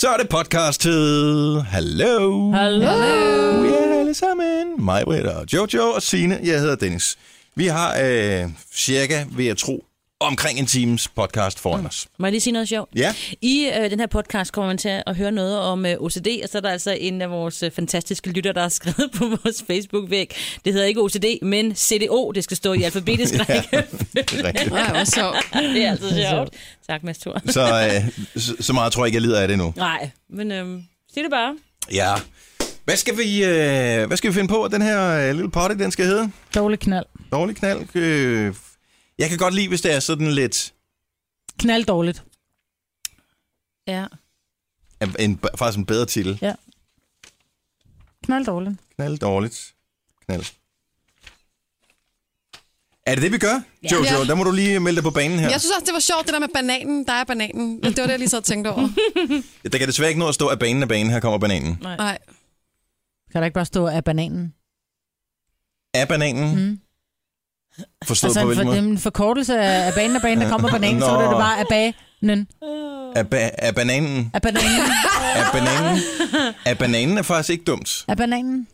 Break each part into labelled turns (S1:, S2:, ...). S1: Så er det podcast-tid. Hallo.
S2: Hallo.
S1: Vi er alle sammen. Mig, Britt og Jojo og Sine. Jeg hedder Dennis. Vi har øh, cirka, vil jeg tro, omkring en times podcast foran os.
S2: Må jeg lige sige noget sjovt?
S1: Ja.
S2: I øh, den her podcast kommer man til at høre noget om øh, OCD, og så er der altså en af vores øh, fantastiske lytter, der har skrevet på vores Facebook-væg. Det hedder ikke OCD, men CDO. Det skal stå i alfabetisk række.
S1: det er rigtigt.
S3: Det er også sjovt.
S2: det er altså sjovt. Tak, Mads Thor.
S1: Så, øh, så, så meget tror jeg ikke, jeg lider af det nu.
S2: Nej, men øh, sig det bare.
S1: Ja. Hvad skal vi, øh, hvad skal vi finde på, at den her øh, lille potty, den skal hedde?
S3: Dårlig knald.
S1: Dårlig knald. Øh, jeg kan godt lide, hvis det er sådan lidt...
S3: Knald dårligt.
S2: Ja.
S1: En, en, faktisk en bedre titel.
S3: Knald dårligt.
S1: Knald dårligt. Knald. Er det det, vi gør? Ja. Jojo,
S4: Ja.
S1: der må du lige melde dig på banen her.
S4: Jeg synes også, det var sjovt, det der med bananen. Der er bananen. Det var det, jeg lige så tænkte over.
S1: Der kan desværre ikke nå at stå af banen af banen. Her kommer bananen.
S4: Nej.
S3: Kan der ikke bare stå af bananen?
S1: Af bananen. Mm.
S3: Mm.
S1: Forstået
S3: Altså
S1: på
S3: en, for,
S1: hvilken måde?
S3: en forkortelse af, af banen af banen, der kommer bananen, så
S1: Nå.
S3: er det bare af banen.
S2: Øh.
S1: Af, ba- af bananen.
S3: Af bananen.
S1: Af bananen. Af bananen er faktisk ikke dumt.
S3: Af bananen.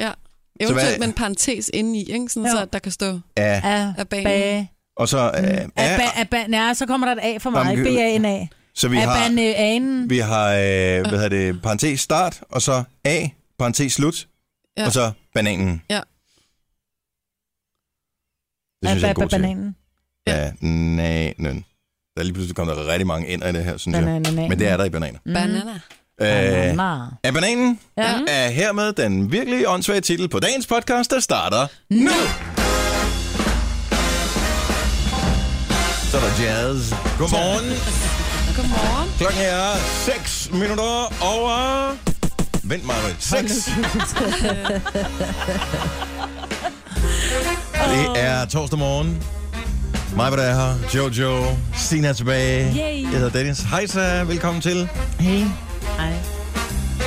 S4: Ja. Eventuelt
S1: hvad-
S4: med en parentes indeni, ikke? Sådan,
S3: Jo.
S4: så at der kan stå
S1: Af,
S3: Af,
S4: af
S3: af
S4: banen.
S3: bag.
S1: og så øh, af,
S3: Af,
S1: af,
S3: Mm. ba, af ba, nej, så kommer der et A for mig.
S1: Jamen,
S3: B-A-N-A.
S1: Så vi
S3: Af
S1: har,
S3: bananen.
S1: vi har øh, hvad hedder det, parentes start, og så A, parentes slut,
S4: Ja.
S1: og så bananen.
S4: Ja.
S1: Det
S3: Af
S1: synes jeg er en
S3: ba-
S1: god ting.
S3: bananen.
S1: Bananen. Der er lige pludselig kommet der rigtig mange ender i det her, synes jeg.
S3: Bananen.
S1: Men det er der i bananer.
S3: Mm.
S4: banana.
S1: Øh,
S3: Banana.
S1: er bananen
S3: Ja.
S1: er hermed den virkelig åndssvage titel på dagens podcast, der starter nu. Så er der jazz. Godmorgen.
S4: Godmorgen.
S1: Klokken er 6 minutter over... Vent mig, 6. Det er torsdag morgen. Mig, hvad der er her. Jojo. Sina er tilbage.
S3: Yay.
S1: Jeg hedder Dennis. Hej så, velkommen til.
S3: Hey. Hej.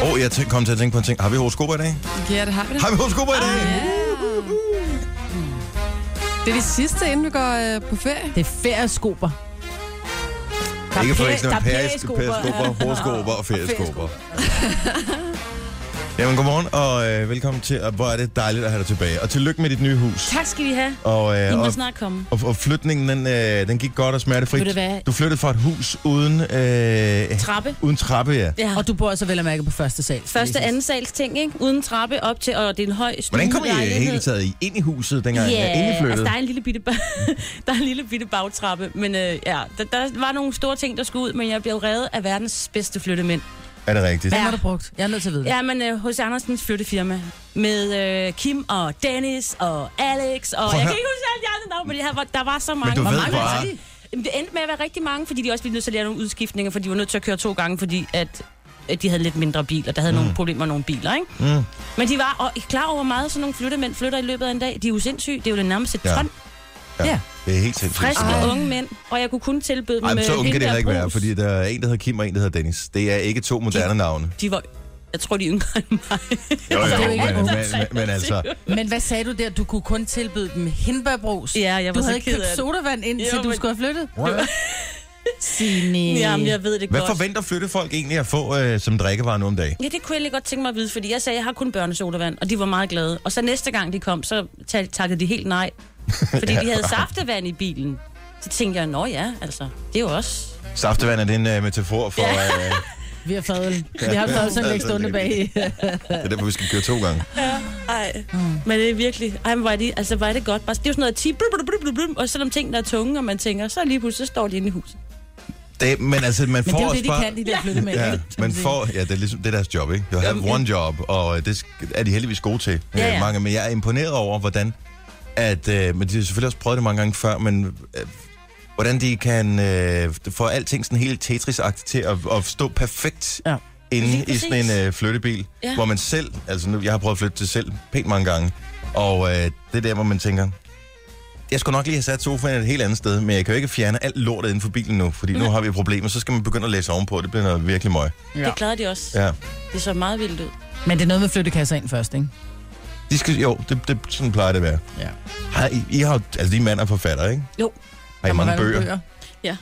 S1: Åh, oh, jeg tæ- kom til at tænke på en ting. Har vi horoskoper i dag?
S4: Ja, det har vi da.
S1: Har vi horoskoper i
S3: Ah,
S1: dag?
S4: Det er det sidste, inden vi går øh, på ferie.
S3: Det er ferieskober. Der er
S1: Ikke for
S3: pæ-
S1: eksempel
S3: der er
S1: periskoper, horoskoper og ferieskoper. Jamen, godmorgen og øh, velkommen til. Og hvor er det dejligt at have dig tilbage. Og tillykke med dit nye hus.
S2: Tak skal vi have.
S1: Og,
S2: I
S1: øh,
S2: må
S1: og,
S2: snart komme.
S1: og, og flytningen, den, øh, den gik godt og smertefrit.
S2: Ved du hvad?
S1: du flyttede fra et hus uden, øh,
S2: Trappe.
S1: uden trappe, ja.
S2: Ja.
S3: Og du bor så vel at mærke på første sal.
S2: Ah. Første, anden sals ting, ikke? Uden trappe op til, og det er en høj stue.
S1: Hvordan kom I øh,
S2: lejlighed.
S1: hele taget i- ind i huset, dengang yeah. inden I
S2: altså
S1: flyttede?
S2: der er en lille bitte, ba- der er en lille bitte bagtrappe, men øh, ja, der, der, var nogle store ting, der skulle ud, men jeg blev reddet af verdens bedste flyttemænd.
S1: Er det rigtigt?
S3: Hvad
S2: Ja.
S3: har du brugt? Jeg er nødt til at vide det.
S2: Ja, men øh, hos Andersens flyttefirma med øh, Kim og Dennis og Alex, og
S1: at
S2: jeg
S1: høre.
S2: kan ikke huske alle de andre navne, men det her, var, der var så mange.
S1: du
S2: Hvor
S1: ved
S2: mange
S1: bare-
S2: var de? Jamen, det endte med at være rigtig mange, fordi de også ville nødt til at lære nogle udskiftninger, for de var nødt til at køre to gange, fordi at at de havde lidt mindre biler. Der havde mm. nogle problemer med nogle biler, ikke?
S1: Mm.
S2: Men de var og, I er klar over, hvor meget sådan nogle flyttemænd flytter i løbet af en dag. De er jo sindssyge. Det er jo det nærmest et
S1: Ja.
S2: ja. ton
S1: ja.
S3: Ja.
S1: Det er helt sindssygt.
S2: friske
S1: så meget.
S2: unge mænd, og jeg kunne kun tilbyde dem
S1: Ej, men så
S2: øh,
S1: unge kan
S2: hende
S1: det heller
S2: der
S1: ikke være,
S2: brus.
S1: fordi der er en, der hedder Kim, og en, der hedder Dennis. Det er ikke to moderne navne.
S2: De var, jeg tror, de er yngre end mig.
S1: Jo, jo,
S3: Altså, det er jo
S1: men,
S3: ikke
S1: men,
S3: unge.
S1: men, men altså,
S3: Men hvad sagde du der? Du kunne kun tilbyde dem hindbærbrus.
S2: Ja, jeg
S3: du
S2: var
S3: havde
S2: så
S3: ikke
S2: ked
S3: købt
S2: af det.
S3: sodavand, indtil
S2: Jo,
S3: jo, du
S2: men-
S3: skulle have flyttet.
S1: What?
S3: Signe.
S2: Jamen, jeg ved det
S1: hvad
S2: godt.
S1: forventer flyttefolk egentlig at få øh, som drikkevarer nu om dagen?
S2: Ja, det kunne jeg lige godt tænke mig at vide, fordi jeg sagde, at jeg har kun børnesodavand, og de var meget glade. Og så næste gang de kom, så ta- takkede de helt nej, fordi de havde saftevand i bilen. Så tænkte jeg, nå ja, altså, det er jo også...
S1: Saftevand er det en øh, metafor for... Øh,
S3: Vi har fadøl. Vi har fadøl ikke stående bag.
S1: det er derfor, vi skal køre to gange.
S2: Ej, men det er virkelig... Ej, men var det, altså, var det godt. Bare- Det er jo sådan noget at tige, blub, blub, blub, blub, blub, og selvom tingene er tunge, og man tænker, så lige pludselig så står de inde i huset.
S1: Det, men altså, man
S3: Men
S1: får
S3: det er jo
S1: også
S3: det, de
S1: bare...
S3: kan, de der flyttemænd.
S1: Ja, man får, ja, det er ligesom det er deres job, ikke? You have one job, og øh, det sk- er de heldigvis gode til,
S2: Ja,
S1: ja, ja.
S2: ja.
S1: mange. Men jeg er imponeret over, hvordan at, øh, men de har selvfølgelig også prøvet det mange gange før, men øh, hvordan de kan øh, få alting sådan helt tetris til at, at stå perfekt ja.
S3: Ja.
S1: inde
S2: Lige
S1: i
S2: præcis.
S1: sådan en øh, flyttebil, ja.
S2: Ja.
S1: hvor man selv, altså nu, jeg har prøvet at flytte til selv pænt mange gange, og øh, det er der, hvor man tænker, jeg skulle nok lige have sat sofaen et helt andet sted, men jeg kan jo ikke fjerne alt lortet inden for bilen nu, fordi nu har vi problemer, så skal man begynde at læse ovenpå, det bliver noget virkelig møg.
S2: Ja. Det klarede de også. Ja.
S1: Ja.
S2: Det så meget vildt ud.
S3: Men det er noget med flyttekasser ind først, ikke?
S1: De skal, jo, det, det, sådan plejer det at være.
S3: Ja.
S1: Har I, I har, jo- altså, de mand er forfatter, ikke?
S2: Jo.
S1: Har I mange bøger?
S3: bøger.
S2: Ja.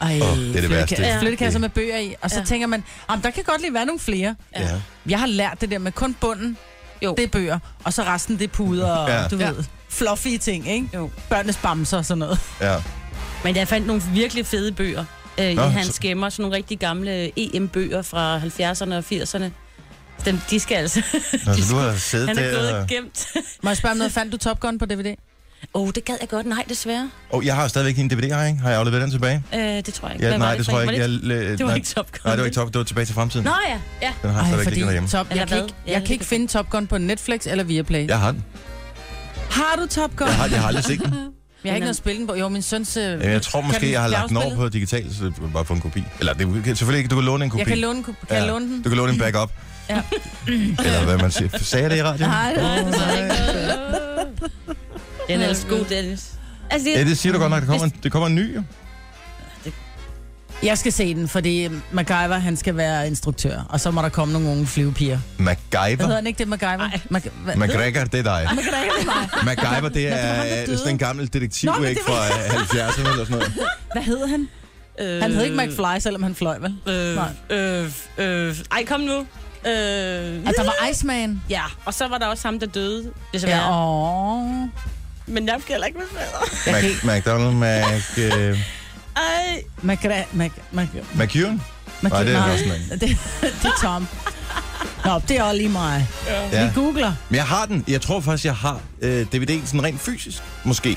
S3: Ej,
S1: Åh, det er det værste.
S3: flyttekasser-
S1: Ja.
S3: Flyttekasser med bøger i. Og så
S2: Ja.
S3: ja. tænker man, "Jamen, der kan godt lige være nogle flere.
S1: Ja. ja.
S3: Jeg har lært det der med kun bunden,
S2: Jo.
S3: jo. det er bøger, og så resten det er puder og
S1: Ja.
S3: ja. du
S4: Ja.
S3: ved, fluffy ting, ikke?
S2: Jo.
S3: Børnenes bamser og sådan noget.
S1: ja.
S2: Men jeg fandt nogle virkelig fede bøger øh,
S1: Nå,
S2: i hans
S1: så-
S2: gemmer. Sådan nogle rigtig gamle EM-bøger fra 70'erne og 80'erne. Dem, de skal altså...
S1: Nå,
S2: de
S1: så du
S2: skal-
S1: har siddet
S2: han er
S1: der...
S2: gået
S1: og-
S2: og gemt.
S3: Må jeg spørge om noget, fandt du Top Gun på DVD?
S2: Åh, oh, det gad jeg godt. Nej, desværre.
S1: Åh, jeg har stadigvæk din DVD her, ikke? Har jeg afleveret den tilbage?
S2: Øh, det tror jeg ikke.
S1: Ja,
S2: Hvad var
S1: nej, det
S2: for
S1: tror
S2: en?
S1: jeg ikke.
S2: Var
S1: Jeg,
S2: det,
S1: øh,
S2: det var
S1: nej.
S2: ikke Top Gun.
S1: Nej, det var ikke top, det var tilbage til fremtiden.
S2: Nå ja, ja.
S1: Den har jeg stadigvæk liggende derhjemme.
S3: Top,
S2: Eller
S3: jeg, kan
S2: hvad?
S3: ikke,
S2: Ja,
S3: jeg
S2: det
S3: kan ikke
S2: kan-
S3: finde Top Gun på Netflix eller Viaplay. Ja.
S1: Jeg har den.
S3: Har du Top Gun?
S1: Jeg
S3: Jeg
S1: har, jeg har aldrig set den.
S3: har ikke noget at spille den på. Jo, min søns... øh,
S1: Jamen, Jeg tror måske,
S3: Kan
S1: jeg har
S3: den
S1: lagt den over på
S3: afspillet?
S1: digital, så det er bare på en kopi. Eller det kan, selvfølgelig ikke, du kan låne en kopi.
S3: Jeg kan låne, den. kan jeg låne den?
S1: Du kan låne en backup.
S3: Ja.
S1: Eller hvad man siger. Sagde jeg det i radioen?
S3: Nej, det
S1: Åh,
S2: Så er
S1: nej.
S2: der ikke noget. Den er altså god, Dennis. Altså, det,
S1: Ja, det siger du godt nok. Der kommer en, det kommer en ny, jo.
S3: Jeg skal se den, fordi MacGyver, han skal være instruktør. Og så må der komme nogle unge flyvepiger. Hvad hedder
S1: MacGyver.
S3: han ikke det, MacGyver? Mac- hvad-
S1: MacGregor, det er dig.
S3: MacGregor, det er mig.
S1: MacGyver, det
S3: Nå, det var
S1: er
S3: ham, der
S1: øh,
S3: døde.
S1: sådan en gammel detektiv,
S3: Nå, men
S1: ikke
S3: det var-
S1: fra øh, 70'erne eller sådan noget.
S3: Hvad hed han?
S2: øh,
S3: Han hed ikke McFly, selvom han fløj, vel?
S2: Øh,
S3: Nej.
S2: øh, øh, ej, kom nu. Øh,
S3: At der var Iceman.
S2: ja, og så var der også ham, der døde, desværre.
S3: Ja,
S2: Ja, og...
S3: åh.
S2: Men jeg kan heller ikke med fader.
S1: Mac, McDonald, Mac... Øh,
S2: Ej,
S3: McGregor, Mac, Mac,
S1: McEwan?
S3: Mac,
S1: Nej, det er
S3: nej,
S1: også en
S3: det, det er Tom. Nå, det er også lige mig.
S1: Ja.
S3: Vi googler.
S1: Men jeg har den. Jeg tror faktisk, jeg har øh, DVD'en sådan rent fysisk. Måske. I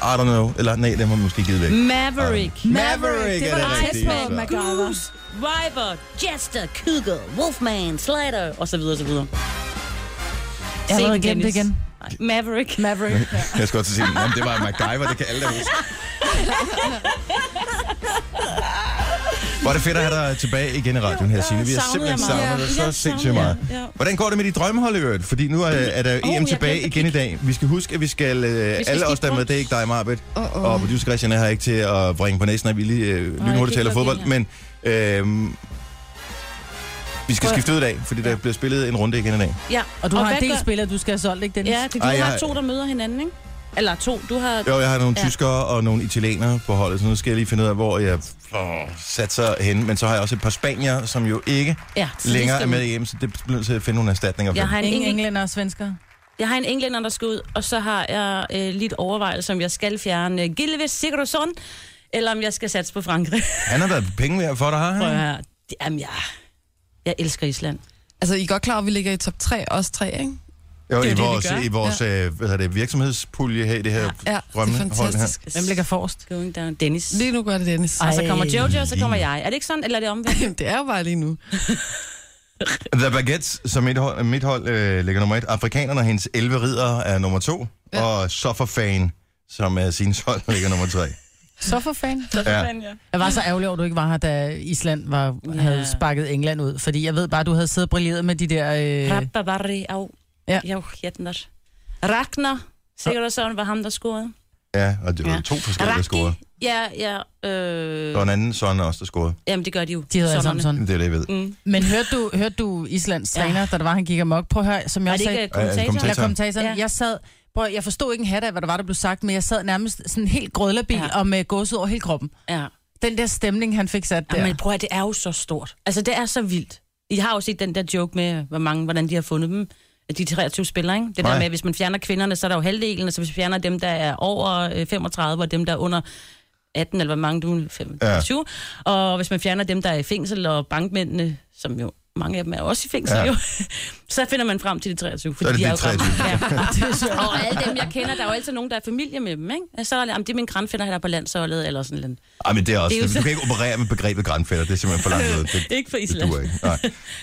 S1: don't know. Eller nej, den må man måske give væk.
S2: Maverick.
S1: Maverick er det rigtige
S3: Iceman,
S1: svar.
S3: MacGyver.
S2: Goose, Viper, Jester, Cougar, Wolfman, Slider, og så videre, og så videre.
S3: Jeg har
S2: Se
S3: allerede
S2: den,
S3: glemt det
S2: Dennis.
S3: igen.
S2: Ej, Maverick.
S3: Maverick. Ja.
S1: Jeg skal også sige, at det var MacGyver, det kan alle da huske. Hvor er det fedt at have dig tilbage igen i radioen her, Signe. Vi har
S2: savnede
S1: simpelthen
S2: jeg
S1: savnet
S2: meget.
S1: dig
S2: Ja,
S1: så
S2: jeg
S1: sindssygt
S2: savnede
S1: meget.
S2: jer. Ja.
S1: Hvordan går det med de drømmehold i øvrigt? Fordi nu er, er der
S2: Åh,
S1: EM
S2: jeg
S1: tilbage
S2: glemte at
S1: igen i dag. Vi skal huske, at vi skal... øh, alle os, der
S2: skifte
S1: er med,
S2: rundt.
S1: det er ikke dig, Marbet.
S4: Åh, åh.
S1: Og producer Christian er her ikke til at bringe på næsen, at vi lige øh,
S2: jeg
S1: lynhurtigt
S2: kan
S1: taler
S2: ikke
S1: fodbold.
S2: logge
S1: Men øh, vi skal skifte ud i dag, fordi der bliver spillet en runde igen i dag.
S2: Ja.
S3: Og du har
S2: hvad
S3: en del
S2: gør-
S3: spillere, du skal have solgt, ikke, Dennis?
S2: Ja, det, du
S1: Ej,
S2: Ej, har
S1: jeg-
S2: to, der møder hinanden, ikke? Eller to, du har...
S1: Jo, jeg har nogle
S2: Ja.
S1: tyskere og nogle italienere på holdet, så nu skal jeg lige finde ud af, hvor jeg åh, satser hen. Men så har jeg også et par spanier, som jo ikke
S2: Ja, så de
S1: længere er
S2: skal
S1: med
S2: ud.
S1: hjemme, så det bliver nødt til at finde nogle erstatninger for.
S2: Jeg har en
S3: Ingen
S2: engel,
S3: englænder og svensker.
S2: Jeg har en englænder, der skal ud, og så har jeg øh, lidt overvejelse, om jeg skal fjerne øh, Gilles Sigurdsson, eller om jeg skal satse på Frankrig.
S1: Han har da penge værd for dig, har
S2: Prøv at
S1: han?
S2: høre. Det- Jamen, jeg, jeg elsker Island.
S4: Altså, I er godt klar, over, at vi ligger i top 3, os tre, ikke?
S1: Jo,
S2: det er
S1: i
S2: jo det, vi
S1: vores,
S2: gør.
S1: i vores ja. hvad hedder det, virksomhedspulje her i det her
S4: Ja, det
S1: Drømmene,
S4: er
S1: hold her.
S4: fantastisk.
S3: Hvem ligger forrest?
S2: Going down. Dennis.
S4: Lige nu gør det Dennis.
S2: Og så
S3: Ej.
S2: kommer Jojo, og så kommer jeg. Er det ikke sådan, eller er det omvendt?
S4: Jamen, det er jo bare lige nu.
S1: The Baguettes, som mit hold, mit hold øh, ligger nummer et. Afrikanerne og hendes 11 ridere er nummer to. Ja.
S4: Ja.
S1: Og Sufferfan, som er sin hold, ligger nummer tre.
S3: Så for fan.
S1: Ja.
S3: Jeg var så ærgerlig over, at du ikke var her, da Island var,
S2: Ja.
S3: havde sparket England ud. Fordi jeg ved bare, at du havde siddet og brilleret med de der... Øh...
S2: Rababari af.
S3: Ja.
S2: Jo, Hjetner. Ragnar Sigurdsson var ham, der scorede.
S1: Ja, og det var
S2: Ja.
S1: to forskellige, der scorede.
S2: Ja, ja. Øh,
S1: Der var en anden sådan også, der scorede.
S2: jamen, det gør de jo.
S3: De hedder alle sammen
S2: Sonnerne.
S3: sådan.
S1: Det er det, jeg ved.
S2: Mm.
S3: Men hørte du, hørte du Islands
S2: Ja.
S3: træner, da det var, han gik amok? Prøv at høre, som jeg
S2: Er
S3: også
S2: det
S3: sagde...
S2: ikke øh,
S1: kommentatoren?
S2: kommentatoren?
S3: Eller kommentatoren.
S2: Ja.
S3: Ja. Jeg sad... Prøv, jeg forstod ikke en hat af, hvad der var, der blev sagt, men jeg sad nærmest sådan helt grødlerbil
S2: Ja.
S3: ja. og med gåset over hele kroppen.
S2: Ja.
S3: Den der stemning, han fik sat der.
S2: Ja. Men prøv at det er jo så stort. Altså, det er så vildt. I har jo set den der joke med, hvor mange, hvordan de har fundet dem. De 23 spillere, ikke? Det
S1: Nej.
S2: der med, at hvis man fjerner kvinderne, så er der jo halvdelen, og så hvis man fjerner dem, der er over øh, 35, og dem, der er under 18, eller hvor mange du er, 25. Ja. Og hvis man fjerner dem, der er i fængsel, og bankmændene, som jo mange af dem er også i fængsel,
S1: Ja.
S2: ja. jo, så finder man frem til de 23. Fordi
S1: Så er det
S2: de
S1: de
S2: jo
S1: 23.
S2: ramt. Ja. og alle dem, jeg kender, der er jo altid nogen, der er i familie med dem, ikke? Så er det, jamen, det er min grandfætter, han er på landsholdet, eller sådan noget.
S1: Ej, men det er også...
S2: Det
S1: Det
S2: er jo
S1: er du
S2: så-
S1: kan ikke operere med begrebet grænfælder. Det er simpelthen for langt ud. Det,
S2: Ikke for
S1: det
S2: Island.
S1: duer ikke.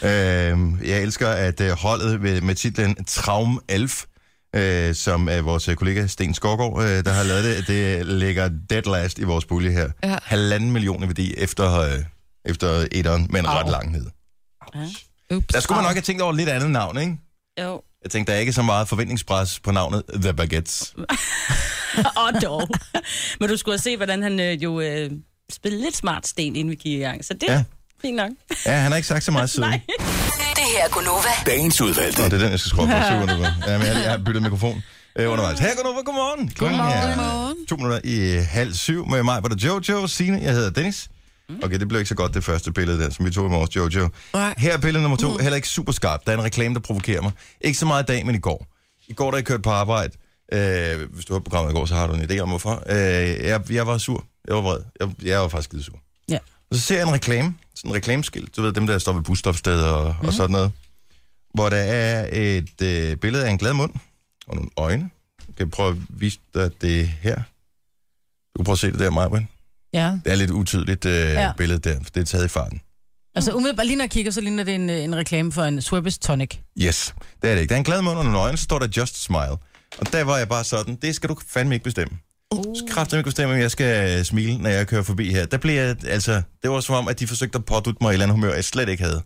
S1: Nej. Øhm, jeg elsker, at øh, holdet med, med titlen Traum Elf, øh, som er vores øh, kollega Sten Skorgård, øh, der har lavet det, det ligger dead last i vores pulje her.
S4: Ja.
S1: Halvanden million i værdi efter, øh, efter etteren, men
S3: Au.
S1: ret lang ned.
S2: Ja.
S4: Ups.
S1: Der skulle man nok have tænkt over et lidt andet navn, ikke?
S2: Jo.
S1: Jeg tænkte, der er ikke så meget forventningspres på navnet The Baguettes.
S2: Og dog. Men du skulle have se, hvordan han øh, jo øh, spillede lidt smart sten, inden vi gik i gang. Så det er
S1: Ja.
S2: ja. fint nok.
S1: Ja, han har ikke sagt så meget siden.
S2: Nej.
S5: Det her er Gunova.
S6: Dagens udvalgte.
S1: Nå, det er den, jeg skal skrue på. Syv minutter. Ja, men jeg, jeg har byttet mikrofon øh, undervejs. Her, godmorgen. Godmorgen. Klokken er
S4: Godmorgen.
S1: øh, To minutter i halv syv med mig, hvor der er Jojo, Signe, jeg hedder Dennis. Okay, det blev ikke så godt, det første billede der, som vi tog i morges, Jojo.
S4: Nej.
S1: Her er billede nummer
S3: Mm.
S1: to, heller ikke super skarpt. Der er en reklame, der provokerer mig. Ikke så meget i dag, men i går. I går, da jeg kørte på arbejde, øh, hvis du har programmet i går, så har du en idé om, hvorfor. Øh, jeg, jeg var sur. Jeg var vred. Jeg, jeg var faktisk lidt sur.
S3: Ja.
S1: Og så ser jeg en reklame, sådan en reklameskilt, du ved, dem der står ved busstopsteder og, mm-hmm.
S3: Mhm.
S1: og sådan noget, hvor der er et øh, billede af en glad mund og nogle øjne. Jeg kan prøve at vise dig det her. Du kan prøve at se det der, Majbrit.
S3: Ja.
S1: Det er lidt utydeligt øh, ja.
S3: Ja.
S1: billede der, for det er taget i farten.
S3: Altså umiddelbart lige når jeg kigger, så ligner det en, øh, en reklame for en Swervis Tonic.
S1: Yes, det er det ikke. Der er en glad mund og nogle øjne, så står der Just Smile. Og der var jeg bare sådan, det skal du fandme ikke bestemme.
S3: Oh.
S1: Uh. Du skal kraftedeme ikke bestemme, om jeg skal øh, smile, når jeg kører forbi her. Der blev jeg, altså, det var som om, at de forsøgte at pådutte mig et eller andet humør, jeg slet ikke havde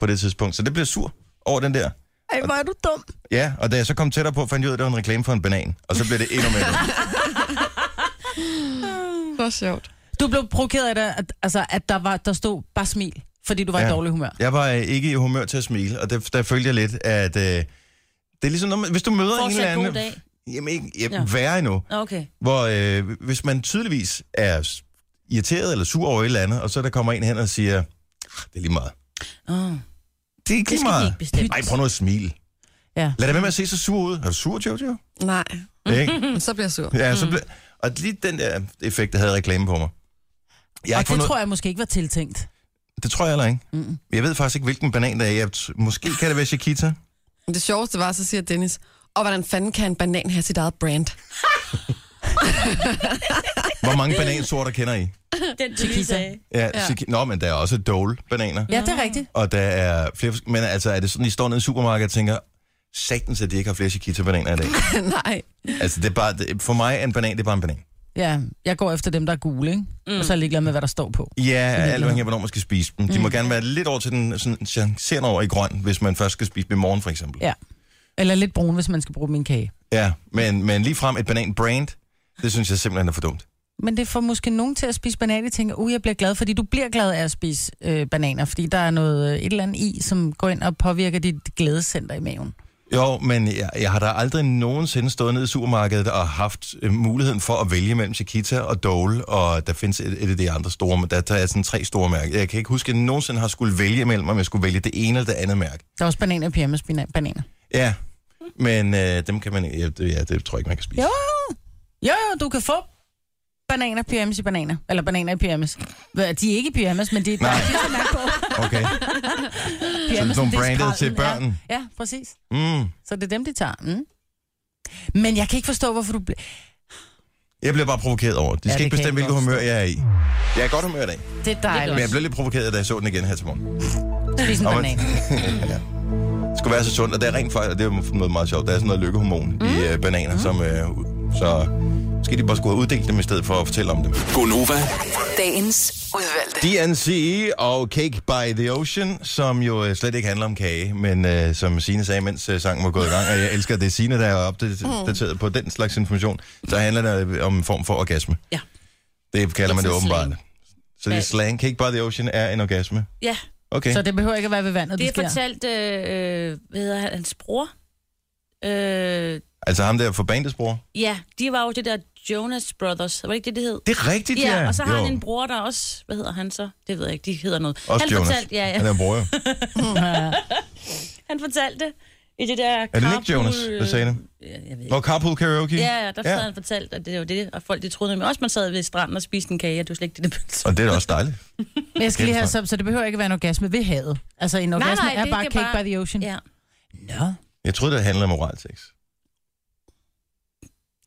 S1: på det tidspunkt. Så det blev jeg sur over den der.
S3: Ej, hvor er du dum.
S1: Ja, og da jeg så kom tættere på, fandt jeg ud af, at det var en reklame for en banan. Og så blev det endnu mere.
S4: Så sjovt.
S3: Du blev provokeret af, det, at, altså, at der, var, der stod bare smil, fordi du var ja. i dårlig humør.
S1: Jeg var øh, ikke i humør til at smile, og der, der følte jeg lidt, at øh, det er ligesom, når man, hvis du møder en eller
S2: Fortsat
S1: anden...
S2: god dag.
S1: Jamen, ikke, jamen,
S2: Ja.
S1: værre endnu.
S2: Nå, Okay.
S1: Hvor øh, hvis man tydeligvis er s- irriteret eller sur over et eller andet, og så der kommer en hen og siger, "Ah, det er lige meget.
S2: Oh.
S1: Det er ikke
S2: Det
S1: lige
S2: skal de
S1: meget.
S2: ikke bestemme.
S1: Nej, prøv nu at smile.
S3: Ja.
S1: Lad det være med at se så sur ud. Er du sur, Jojo?
S4: Nej,
S1: Ikke?
S3: Hmm.
S4: så bliver jeg sur.
S1: Ja, så ble... Og lige den der effekt, der havde reklame på mig. Jeg har
S3: Og
S1: ikke
S3: det
S1: fundet...
S3: tror jeg måske ikke var tiltænkt.
S1: det tror jeg heller ikke. Mm. Jeg ved faktisk ikke, hvilken banan der er. Jeg... t- Måske kan det være Chiquita.
S4: Men Det sjoveste var, så siger Dennis, og hvordan fanden kan en banan have sit eget brand?
S1: Hvor mange banansorter kender I?
S2: Den, du lige sagde.
S1: Ja, ja. Chiqui... Nå, men der er også Dole-bananer.
S3: Ja, det er rigtigt.
S1: Og der er flere... fors- Men altså, er det sådan, I står nede i supermarkedet og tænker, sagtens, at de ikke har flere Chiquita-bananer i dag?
S4: Nej.
S1: Altså, det er bare, det, for mig er en banan, det er bare en banan.
S3: Ja, jeg går efter dem, der er gule, ikke? Mm. Og så er jeg ligeglad med, hvad der står på.
S1: Ja, Mm. alt afhængig af, hvornår man skal spise dem. De må gerne være lidt over til den sådan, chancerende over i grøn, hvis man først skal spise dem i morgen, for eksempel.
S3: Ja. Eller lidt brun, hvis man skal bruge min kage.
S1: Ja, men, men lige frem et bananbrand, det synes jeg simpelthen er for dumt.
S3: Men det får måske nogen til at spise bananer, de tænker, uh, jeg bliver glad, fordi du bliver glad af at spise øh, bananer, fordi der er noget, øh, et eller andet i, som går ind og påvirker dit glædescenter i maven.
S1: Jo, men jeg, jeg har da aldrig nogensinde stået nede i supermarkedet og haft øh, muligheden for at vælge mellem Chiquita og Dole, og der findes et, et af de andre store, men der tager jeg sådan tre store mærker. Jeg kan ikke huske, at jeg nogensinde har skulle vælge mellem, om jeg skulle vælge det ene eller det andet mærke.
S3: Der er også bananer i pyjamas, bana- bananer.
S1: Ja, men øh, dem kan man ja, det, ja, det tror jeg ikke, man kan spise.
S3: Jo, jo, jo, du kan få bananer, pyjamas i bananer. Eller bananer i pyjamas. Hvad, De er ikke i pyjamas, men de, der
S1: Nej.
S3: er de, som er på.
S1: Okay. Sådan
S3: Pyjamas,
S1: nogle
S3: det er
S1: branded
S3: skralden,
S1: til børn.
S3: Ja, ja, præcis.
S1: Mm.
S3: Så det er dem, de tager. Mm. Men jeg kan ikke forstå, hvorfor du bliver...
S1: Jeg bliver bare provokeret over. det. De
S3: Ja,
S1: skal ja,
S3: det
S1: ikke
S3: kan
S1: bestemme,
S3: jeg
S1: hvilket
S3: godt
S1: humør jeg er i. Jeg er i godt humør i dag,
S3: Det er dejligt.
S1: men jeg
S3: Det
S1: blev lidt provokeret, da jeg så den igen her til morgen.
S3: er ligesom
S1: Og
S3: en
S1: man-
S3: banan.
S1: ja. Det skulle være så sundt, og det er rent faktisk, og det er jo noget meget sjovt. Der er sådan noget lykkehormon mm. i øh, bananer, mm. som, øh, ud- så måske de bare skulle have uddelt dem i stedet for at fortælle om dem.
S5: Gonova,
S6: Dagens udvalgte.
S1: DNC og Cake by the Ocean, som jo øh, slet ikke handler om kage, men øh, som Sine sagde, mens øh, sangen var gået i gang, og jeg elsker at det, er Sine, der er opdateret mm. på den slags information, så handler det øh, om en form for orgasme.
S2: Ja.
S1: Det kalder man det
S2: It's a slang.
S1: åbenbart. Så det er
S2: Ja.
S1: slang. Cake by the Ocean er en orgasme.
S2: Ja,
S1: Okay.
S3: Så det behøver ikke at være ved vandet, det,
S2: det
S3: det
S2: er
S3: sker.
S2: fortalt, øh, øh, hvad hedder han, hans bror? Øh,
S1: Altså ham der for bandets bror.
S2: ja, de var jo det der Jonas Brothers, var det ikke det, det hed?
S1: Det er rigtigt, ja.
S2: Ja, og så har
S1: Jo.
S2: han en bror, der også... Hvad hedder han så? Det ved jeg ikke, de hedder noget.
S1: Også
S2: han
S1: Jonas.
S2: Fortalte, ja,
S1: Han er
S2: ja,
S1: en bror, jo.
S2: han fortalte det i det der
S1: Er det ikke Jonas, der sagde det?
S2: Jeg ved ikke.
S1: Hvor carpool karaoke?
S2: Ja, ja, der sad ja. han fortalt, at det var det, og folk de troede nemlig også, man sad ved stranden og spiste en kage, og det var slet ikke det, det betød.
S1: Og det er da også dejligt.
S3: Men jeg skal lige have, så, så det behøver ikke at være en orgasme ved havet. Altså en
S2: nej,
S3: orgasme nej, nej,
S2: det
S3: er bare
S2: kan
S3: cake
S2: bare-
S3: by the ocean.
S2: Ja.
S3: Nå.
S1: Jeg troede, det handlede om oral sex.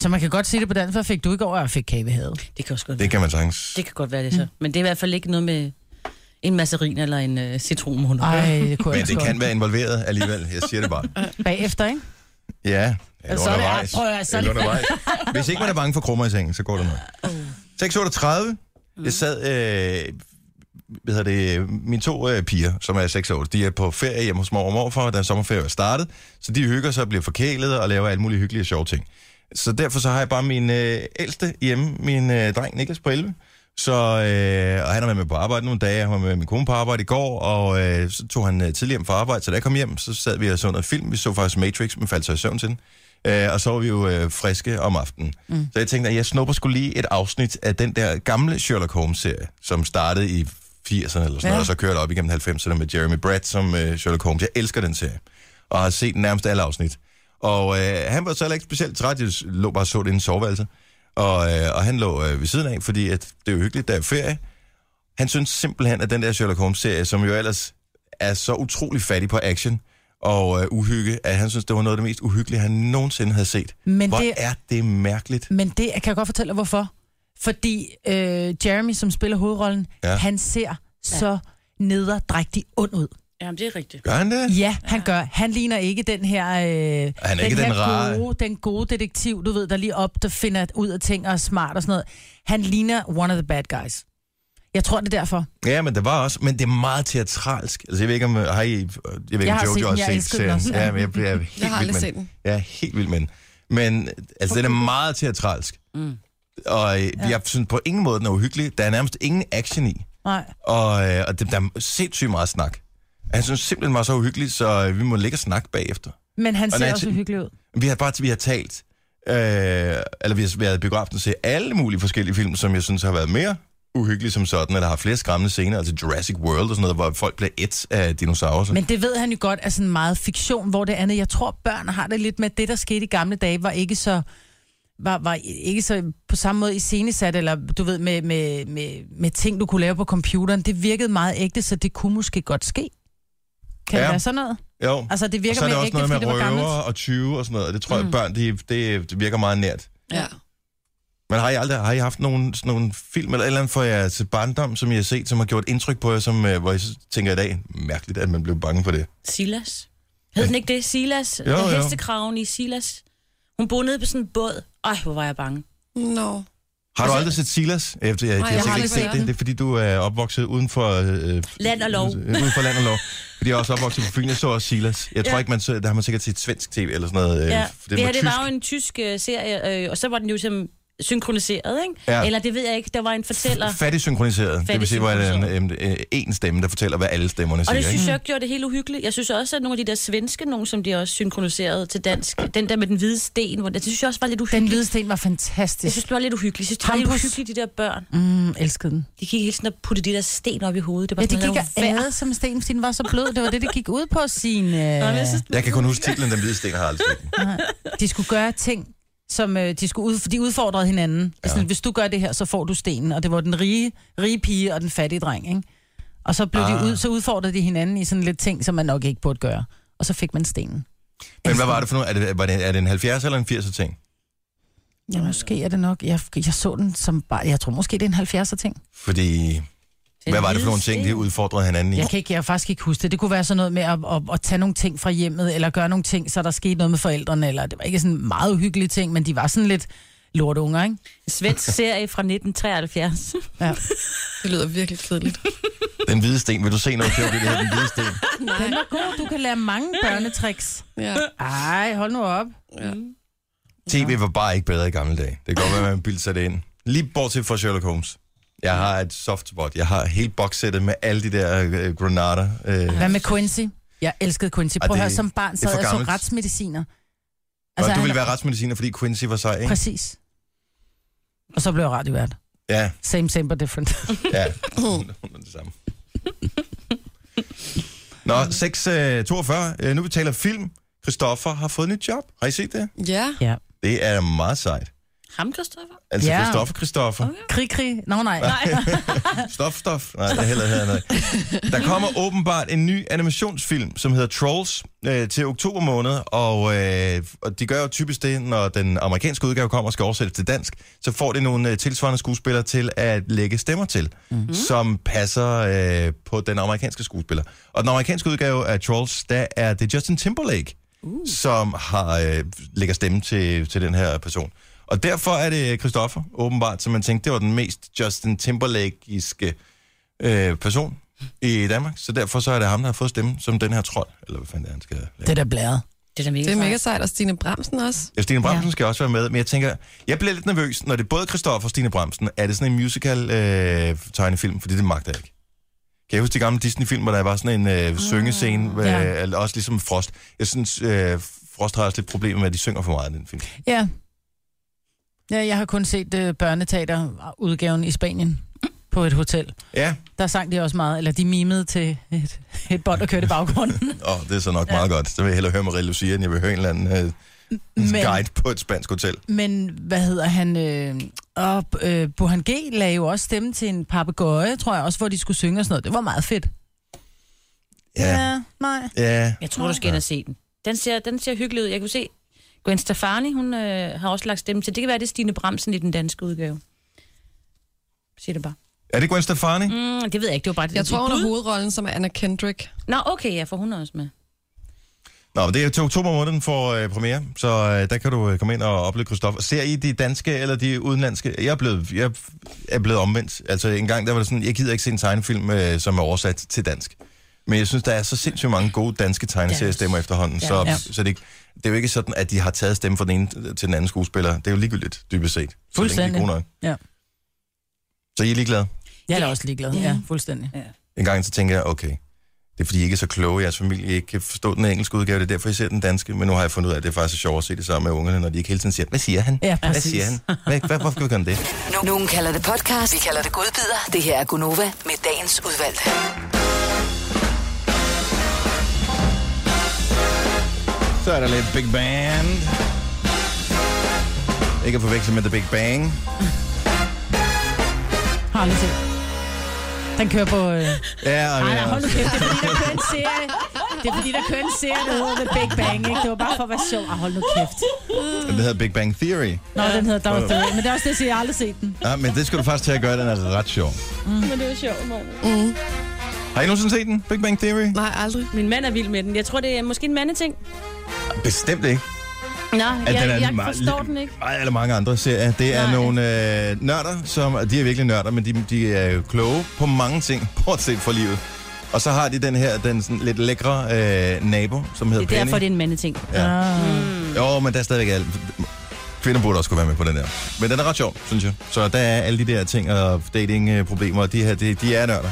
S3: Så man kan godt sige det på dansk, hvad fik du i går, og jeg fik kage ved havet.
S2: Det kan også godt
S1: Det
S2: være.
S1: kan man sagtens.
S2: Det kan godt være det så. Men det er i hvert fald ikke noget med en masserin eller en øh, citronmåne.
S3: Ej, det kunne jeg
S1: Men
S3: også
S1: det
S3: godt.
S1: kan være involveret alligevel. Jeg siger det bare.
S3: Bagefter, ikke?
S1: Ja, eller
S3: så er det-
S1: undervejs.
S3: prøv at høre, så er
S1: Eller
S3: det-
S1: undervejs. Hvis ikke man er bange for krummer i sengen, så går det nok. 6.38. Jeg sad... Øh, hvad hedder det, øh, mine to øh, piger, som er 6 år, de er på ferie hjemme hos mor og morfar, da sommerferie er startet, så de hygger sig og bliver forkælet og laver alle mulige hyggelige og sjove ting. Så derfor så har jeg bare min øh, ældste hjemme, min øh, dreng Niklas på 11, så, øh, og han har været med på arbejde nogle dage, han var med min kone på arbejde i går, og øh, så tog han øh, tidligere hjem fra arbejde, så da jeg kom hjem, så sad vi og så noget film, vi så faktisk Matrix, men faldt så i søvn til den. Øh, og så var vi jo øh, friske om aftenen. Mm. Så jeg tænkte, at jeg snupper skulle lige et afsnit af den der gamle Sherlock Holmes-serie, som startede i 80'erne eller sådan ja. noget, og så kørte op igennem 90'erne med Jeremy Brett som øh, Sherlock Holmes. Jeg elsker den serie, og har set nærmest alle afsnit. Og øh, han var så heller ikke specielt træt, jeg lå bare og så det i en soveværelse. Og, øh, og han lå øh, ved siden af, fordi at det er jo hyggeligt, der er ferie. Han synes simpelthen, at den der Sherlock Holmes-serie, som jo ellers er så utrolig fattig på action og øh, uhygge, at han synes, det var noget af det mest uhyggelige, han nogensinde havde set.
S3: Men
S1: Hvor
S3: det-
S1: er det mærkeligt.
S3: Men det kan jeg godt fortælle dig, hvorfor. Fordi øh, Jeremy, som spiller hovedrollen,
S1: Ja.
S3: ja. han ser så nederdrægtig ond ud.
S2: Jamen, det er rigtigt.
S1: Gør han det?
S3: Ja, han gør. Han ligner ikke den her... Øh, han
S1: er
S3: den
S1: ikke den
S3: her
S1: rare-
S3: Gode, den gode detektiv, du ved, der lige op, der finder ud af ting og er smart og sådan noget. Han ligner one of the bad guys. Jeg tror, det er derfor.
S1: Ja, men det var også, men det er meget teatralsk. Altså, jeg ved ikke, om, har I, jeg ved ikke,
S3: Jeg har
S1: om
S3: set
S1: Jojo
S3: den,
S1: har
S3: jeg
S1: set
S3: elskede den
S1: serien.
S3: også.
S1: Ja, men jeg bliver helt
S4: Jeg har
S1: vild
S4: aldrig
S1: med
S4: set den.
S1: Jeg er helt vild med den. Men altså, den er meget teatralsk. Mm. Og øh, jeg synes på ingen måde, den er uhyggelig. Der er nærmest ingen action i.
S3: Nej.
S1: Og, øh, og det, der er sindssygt meget snak. Han synes simpelthen, den var så uhyggelig, så øh, vi må ligge og snakke bagefter.
S3: Men han
S1: når
S3: ser
S1: jeg
S3: også
S1: tænker-
S3: hyggelig ud.
S1: Vi har bare vi har talt, øh, eller vi har været i biografen og set alle mulige forskellige film, som jeg synes har været mere uhyggelige som sådan, eller har flere skræmmende scener, altså Jurassic World og sådan noget, hvor folk bliver et af dinosaurer. Men,
S3: Men det ved han jo godt er sådan meget fiktion, hvor det andet, jeg tror, børn har det lidt med, at det, der skete i gamle dage, var ikke så var, var ikke så på samme måde iscenesat, eller du ved, med, med, med, med ting, du kunne lave på computeren. Det virkede meget ægte, så det kunne måske godt ske. Kan ja.
S1: Ja.
S3: det være sådan noget?
S1: jo. Altså,
S3: Altså, det
S1: og
S3: virker
S1: så er det
S3: mere
S1: også
S3: ægte,
S1: noget
S3: fordi
S1: med
S3: det var gammelt.
S1: røver og 20 og sådan noget, og det tror mm. jeg, børn, det, det, det virker meget nært.
S4: Ja.
S1: Men har I aldrig har I haft nogen, sådan nogle film eller et eller andet fra jeres barndom, som I har set, som har gjort indtryk på jer, som, øh, hvor I så tænker i dag, mærkeligt, at man blev bange for det?
S2: Silas. Hed den ikke det? Silas?
S1: Jo,
S2: Jo,
S1: jo.
S2: jo. Hestekraven i Silas. Hun boede nede på sådan en båd. Ej, hvor var jeg bange.
S4: Nå.
S1: Har
S2: Altså-
S1: du aldrig set Silas? Efter, jeg, Nej, jeg, jeg
S4: jeg har
S1: har ikke
S4: aldrig
S1: set
S4: set
S1: det.
S4: den.
S1: Det er fordi, du er opvokset uden for... Øh,
S2: Land og lov.
S1: øh, Uden for land og lov. Fordi jeg er også opvokset på Fyn, jeg så også Silas. Jeg tror
S2: Ja.
S1: ikke, man så, der har man sikkert set svensk tv eller sådan noget. Øh,
S2: Ja,
S1: for
S2: det, her, det
S1: tysk.
S2: var jo en tysk øh, serie, øh, og så var den jo som synkroniseret, ikke?
S1: Ja.
S2: Ja. Eller det ved jeg ikke, der var en fortæller.
S1: Fattig synkroniseret. det vil sige, hvor der er en, øh, en stemme, der fortæller, hvad alle stemmerne
S2: Og
S1: siger.
S2: det
S1: ikke?
S2: synes jeg gjorde det helt uhyggeligt. Jeg synes også, at nogle af de der svenske, nogen, som de også synkroniserede til dansk, den der med den hvide sten, hvor det, det synes jeg også var lidt
S3: Den
S2: uhyggeligt.
S3: hvide sten var
S2: Jeg
S3: fantastisk.
S2: synes, det var lidt uhyggeligt. Jeg synes, det var lidt
S3: Hampus.
S2: uhyggeligt, de der børn.
S3: Mm, elskede den.
S2: De gik hele tiden og puttede de der sten op i hovedet. Det var
S3: Ja,
S2: sådan
S3: det gik
S2: noget, der var
S3: og ærede som sten, fordi den var så blød. Det var det, det gik ud på, sin. øh,
S2: værd. Nå, men jeg synes,
S1: Jeg kan kun huske titlen, Den Hvide Sten har jeg aldrig set. den.
S3: De skulle gøre ting, som øh, de, skulle ud, de udfordrede hinanden. Det er Sådan, hvis du gør det her, så får du stenen. Og det var den rige, rige pige og den fattige dreng, ikke? Og så, blev ah. de ud, så udfordrede de hinanden i sådan lidt ting, som man nok ikke burde gøre. Og så fik man stenen.
S1: Men hvad var det for noget? Er det, var det, er det en 70'er eller en 80'er ting?
S3: Ja, måske er det nok. Jeg, jeg så den som bare... Jeg tror måske, det er en 70'er ting.
S1: Fordi... Hvad var det for nogle ting, de udfordrede hinanden i?
S3: Jeg kan ikke, jeg kan faktisk ikke huske det. Det kunne være sådan noget med at, at, at, tage nogle ting fra hjemmet, eller gøre nogle ting, så der skete noget med forældrene, eller det var ikke sådan meget uhyggelige ting, men de var sådan lidt lortunger, ikke?
S2: En svensk serie fra 1973.
S3: Ja.
S4: Det lyder virkelig kedeligt.
S1: Den hvide sten. Vil du se noget, Kjell? Det her, den hvide sten.
S3: Den er god. Du kan lære mange børnetricks.
S4: Ja.
S3: Ej, hold nu op.
S4: ja.
S1: TV var bare ikke bedre i gamle dage. Det kan godt være, man bildte sig det ind. Lige bortset fra Sherlock Holmes. Jeg har et softspot. Jeg har hele bokssættet med alle de der øh, granater. Øh,
S3: Hvad med Quincy? Jeg elskede Quincy.
S1: Og
S3: Prøv at
S1: det-
S3: høre, som barn
S1: det er
S3: sad
S1: for
S3: jeg så
S1: gammelt.
S3: retsmediciner.
S1: altså, du ville
S3: han-
S1: være retsmediciner, fordi Quincy var sej, ikke?
S3: Præcis. Og så blev jeg radiovært.
S1: Ja,
S3: Same, same, but different.
S1: ja. Hun er det samme. Nå, 6.42. Øh, nu vi taler film. Christoffer har fået nyt job. Har I set det?
S4: ja.
S3: ja.
S1: Det er meget sejt.
S2: Ham, Christoffer?
S1: Altså,
S3: Ja.
S1: Christoffer, Christoffer.
S3: Krig, krig. Nå, nej. nej.
S1: Stof, stof. Nej, jeg heller havde noget. Der kommer åbenbart en ny animationsfilm, som hedder Trolls, øh, til oktober måned, og, øh, og de gør jo typisk det, når den amerikanske udgave kommer og skal oversættes til dansk, så får det nogle øh, tilsvarende skuespillere til at lægge stemmer til, mm-hmm. som passer øh, på den amerikanske skuespiller. Og den amerikanske udgave af Trolls, der er det Justin Timberlake, uh. som har øh, lægger stemme til, til den her person. Og derfor er det Christoffer, åbenbart, som man tænkte, det var den mest Justin Timberlake-iske øh, person i Danmark. Så derfor så er det ham, der har fået stemme som den her trold. Eller hvad fanden det er, han skal lave.
S3: Det er da blæret.
S2: Det er da mega,
S4: Det er mega sejt. Og Stine Bramsen også.
S1: Ja, Stine Bramsen ja.
S3: Ja.
S1: skal også være med, men jeg tænker, jeg bliver lidt nervøs, når det er både Christoffer og Stine Bramsen. Er det sådan en musical øh, tegnefilm? Fordi det magter jeg ikke. Kan jeg huske de gamle Disney-film, hvor der var sådan en øh, syngescene, øh,
S3: ja.
S1: ja. også ligesom Frost. Jeg synes, øh, Frost har også lidt problemer med, at de synger for meget i den film.
S3: Ja. ja jeg har kun set uh, børneteaterudgaven i Spanien på et hotel.
S1: Ja,
S3: Der sang de også meget, eller de mimede til et, et bånd, der kørte i baggrunden.
S1: og det er så nok ja. meget godt. Så vil jeg hellere høre Marie Lucia, end jeg vil høre en eller anden øh,
S3: Men,
S1: guide på et spansk hotel.
S3: men hvad hedder han? Øh, og øh, Burhan G. lagde jo også stemme til en papegøje, tror jeg også, hvor de skulle synge og sådan noget. Det var meget fedt.
S1: Ja.
S3: ja nej.
S1: Ja.
S2: Jeg tror, du skal ind og se den. Den ser, den ser hyggelig ud. Jeg kunne se, Gwen Stefani, hun øh, har også lagt stemme til. Det kan være, det er Stine Bramsen i den danske udgave. Siger det bare.
S1: Er det Gwen Stefani? Mm.
S2: Mm, det ved jeg ikke, det var bare
S4: Jeg
S2: et
S4: tror, hun
S2: bud.
S4: har hovedrollen som Anna Kendrick.
S2: Nå, okay, ja, for hun er også med.
S1: Nå, men det er til oktober måned, den får øh, premiere, så øh, der kan du øh, komme ind og opleve Christoffer. Ser I de danske eller de udenlandske? Jeg er blevet, jeg er blevet omvendt. Altså en gang, der var det sådan, jeg gider ikke se en tegnefilm, øh, som er oversat til dansk. Men jeg synes, der er så sindssygt mange gode danske tegneseriestemmer efterhånden, så,
S3: Ja.
S1: så det, det er jo ikke sådan, at de har taget stemme fra den ene øh, til den anden skuespiller. Det er jo ligegyldigt, dybest set. Så længe de er
S3: Fuldstændig.
S1: gode nok.
S3: Ja.
S1: Så I er ligeglade?
S3: Jeg er da
S2: Ja.
S3: også ligeglad.
S2: Ja.
S3: Ja, fuldstændig.
S1: En gang så tænker jeg, okay, det er fordi, I ikke er så kloge, jeres familie ikke kan forstå den engelske udgave, det er derfor, I ser den danske, men nu har jeg fundet ud af, at det faktisk er sjovt at se det sammen med ungerne, når de ikke hele tiden siger, hvad siger han?
S3: Ja,
S1: hvad
S3: præcis.
S1: siger han? Hvad, hvad, hvorfor gør han det?
S6: Nu- Nogen kalder det podcast, vi kalder det godbider. Det her er Gunova med dagens udvalgte.
S1: Så er der lidt Big Band. Ikke at forveksle med The Big Bang.
S3: Har aldrig set. Den kører på... Øh...
S1: Ja, og
S3: Ej, nej,
S1: ja.
S3: hold nu kæft, det er fordi, der kører en serie. Det er fordi, der kører en serie, der hedder The Big Bang, ikke? Det var bare for at være sjov. Ej, hold nu kæft.
S1: det hedder Big Bang Theory.
S3: Nå, den hedder Dog Theory, men det er også det, jeg siger, jeg har aldrig set den.
S1: Ja, men det skal du faktisk til at gøre, den er ret sjov.
S2: Men det er jo sjovt, morgen.
S1: Har I nogensinde set den? Big Bang Theory?
S4: Nej, aldrig.
S2: Min mand er vild med den. Jeg tror, det er måske en mandeting.
S1: Bestemt ikke.
S2: Nå, jeg,
S1: den er
S2: jeg
S1: meget-
S2: forstår den ikke.
S1: Ej, eller mange andre serier. Det er Nej.
S2: Nej.
S1: nogle øh, nørder, som og de er virkelig nørder, men de, de er jo kloge på mange ting, bortset fra livet. Og så har de den her, den sådan lidt lækre øh, nabo, som hedder
S2: Det er
S1: Penny.
S2: derfor, det er Mm. en mandeting.
S1: Ja. Jo, men der er stadigvæk alt. Kvinder burde også kunne være med på den der. Men den er ret sjov, synes jeg. Så der er alle de der ting og datingproblemer, og de her, de, de er nørder.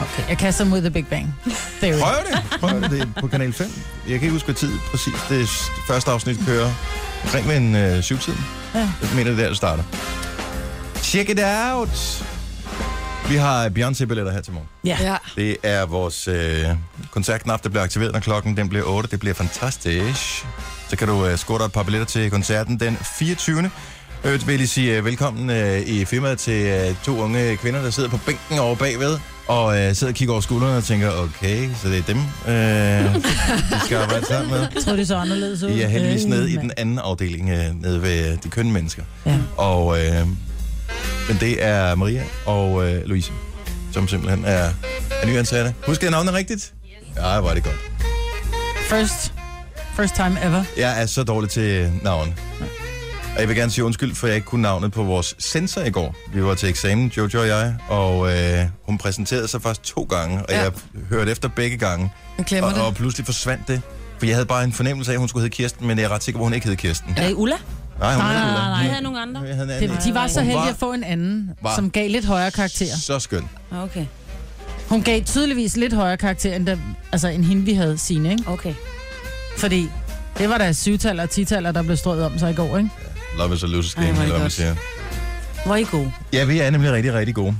S3: Okay, jeg kaster mod The Big Bang Theory.
S1: Prøv det. Prøv det. det er på kanal 5. Jeg kan ikke huske, hvad tid præcis det s- første afsnit kører. Omkring ved en øh, syvtiden. Ja.
S3: Ja.
S1: Jeg mener, det er der, det starter. Check it out! Vi har Beyoncé-billetter her til morgen.
S3: Ja.
S4: Ja.
S1: Det er vores øh, koncertknap, der bliver aktiveret, når klokken den bliver 8. Det bliver fantastisk. Så kan du øh, score dig et par billetter til koncerten den 24. Øvrigt vil jeg lige sige øh, velkommen øh, i firmaet til øh, to unge kvinder, der sidder på bænken over bagved, og øh, sidder og kigger over skuldrene og tænker, okay, så det er dem, øh, vi skal arbejde sammen med.
S3: Jeg tror, det så anderledes ud.
S1: I er heldigvis
S3: Øh,
S1: nede i
S3: mand.
S1: den anden afdeling, øh, nede ved de kønne mennesker.
S3: Ja.
S1: Og, øh, men det er Maria og øh, Louise, som simpelthen er, er nyansatte. Husker jeg navnet rigtigt? Ja, var det godt.
S3: First, first time ever.
S1: Jeg er så dårlig til øh, navn. Og jeg vil gerne sige undskyld, for jeg ikke kunne navnet på vores sensor i går. Vi var til eksamen, Jojo og jeg, og øh, hun præsenterede sig faktisk to gange, og ja.
S4: Ja.
S1: jeg hørte efter begge gange.
S4: Hun glemmer
S1: Og, og
S4: det.
S1: pludselig forsvandt det. For jeg havde bare en fornemmelse af, at hun skulle hedde Kirsten, men jeg er ret sikker på, at hun ikke hed Kirsten.
S2: Er det Ulla?
S1: Nej, hun
S3: Nej,
S1: hed
S3: nej,
S1: Ulla.
S3: nej,
S2: Nej, jeg havde nogen andre.
S1: Jeg havde en anden.
S3: Det, de var så
S1: Hun
S3: heldige
S1: var-
S3: at få en anden,
S1: var-
S3: som gav lidt højere karakter.
S1: Så skøn.
S2: Okay,
S3: Hun gav tydeligvis lidt højere karakter, end, den, altså, end hende, vi havde sine, ikke?
S2: okay.
S3: Fordi det var da syvtaller og titaller, der blev strøget om sig i går, ikke?
S1: Love is a loser's
S2: Ej,
S1: game,
S2: hvor er det
S1: eller hvad man
S2: godt.
S1: siger.
S2: Hvor er I gode?
S1: Ja, vi er nemlig rigtig, rigtig gode.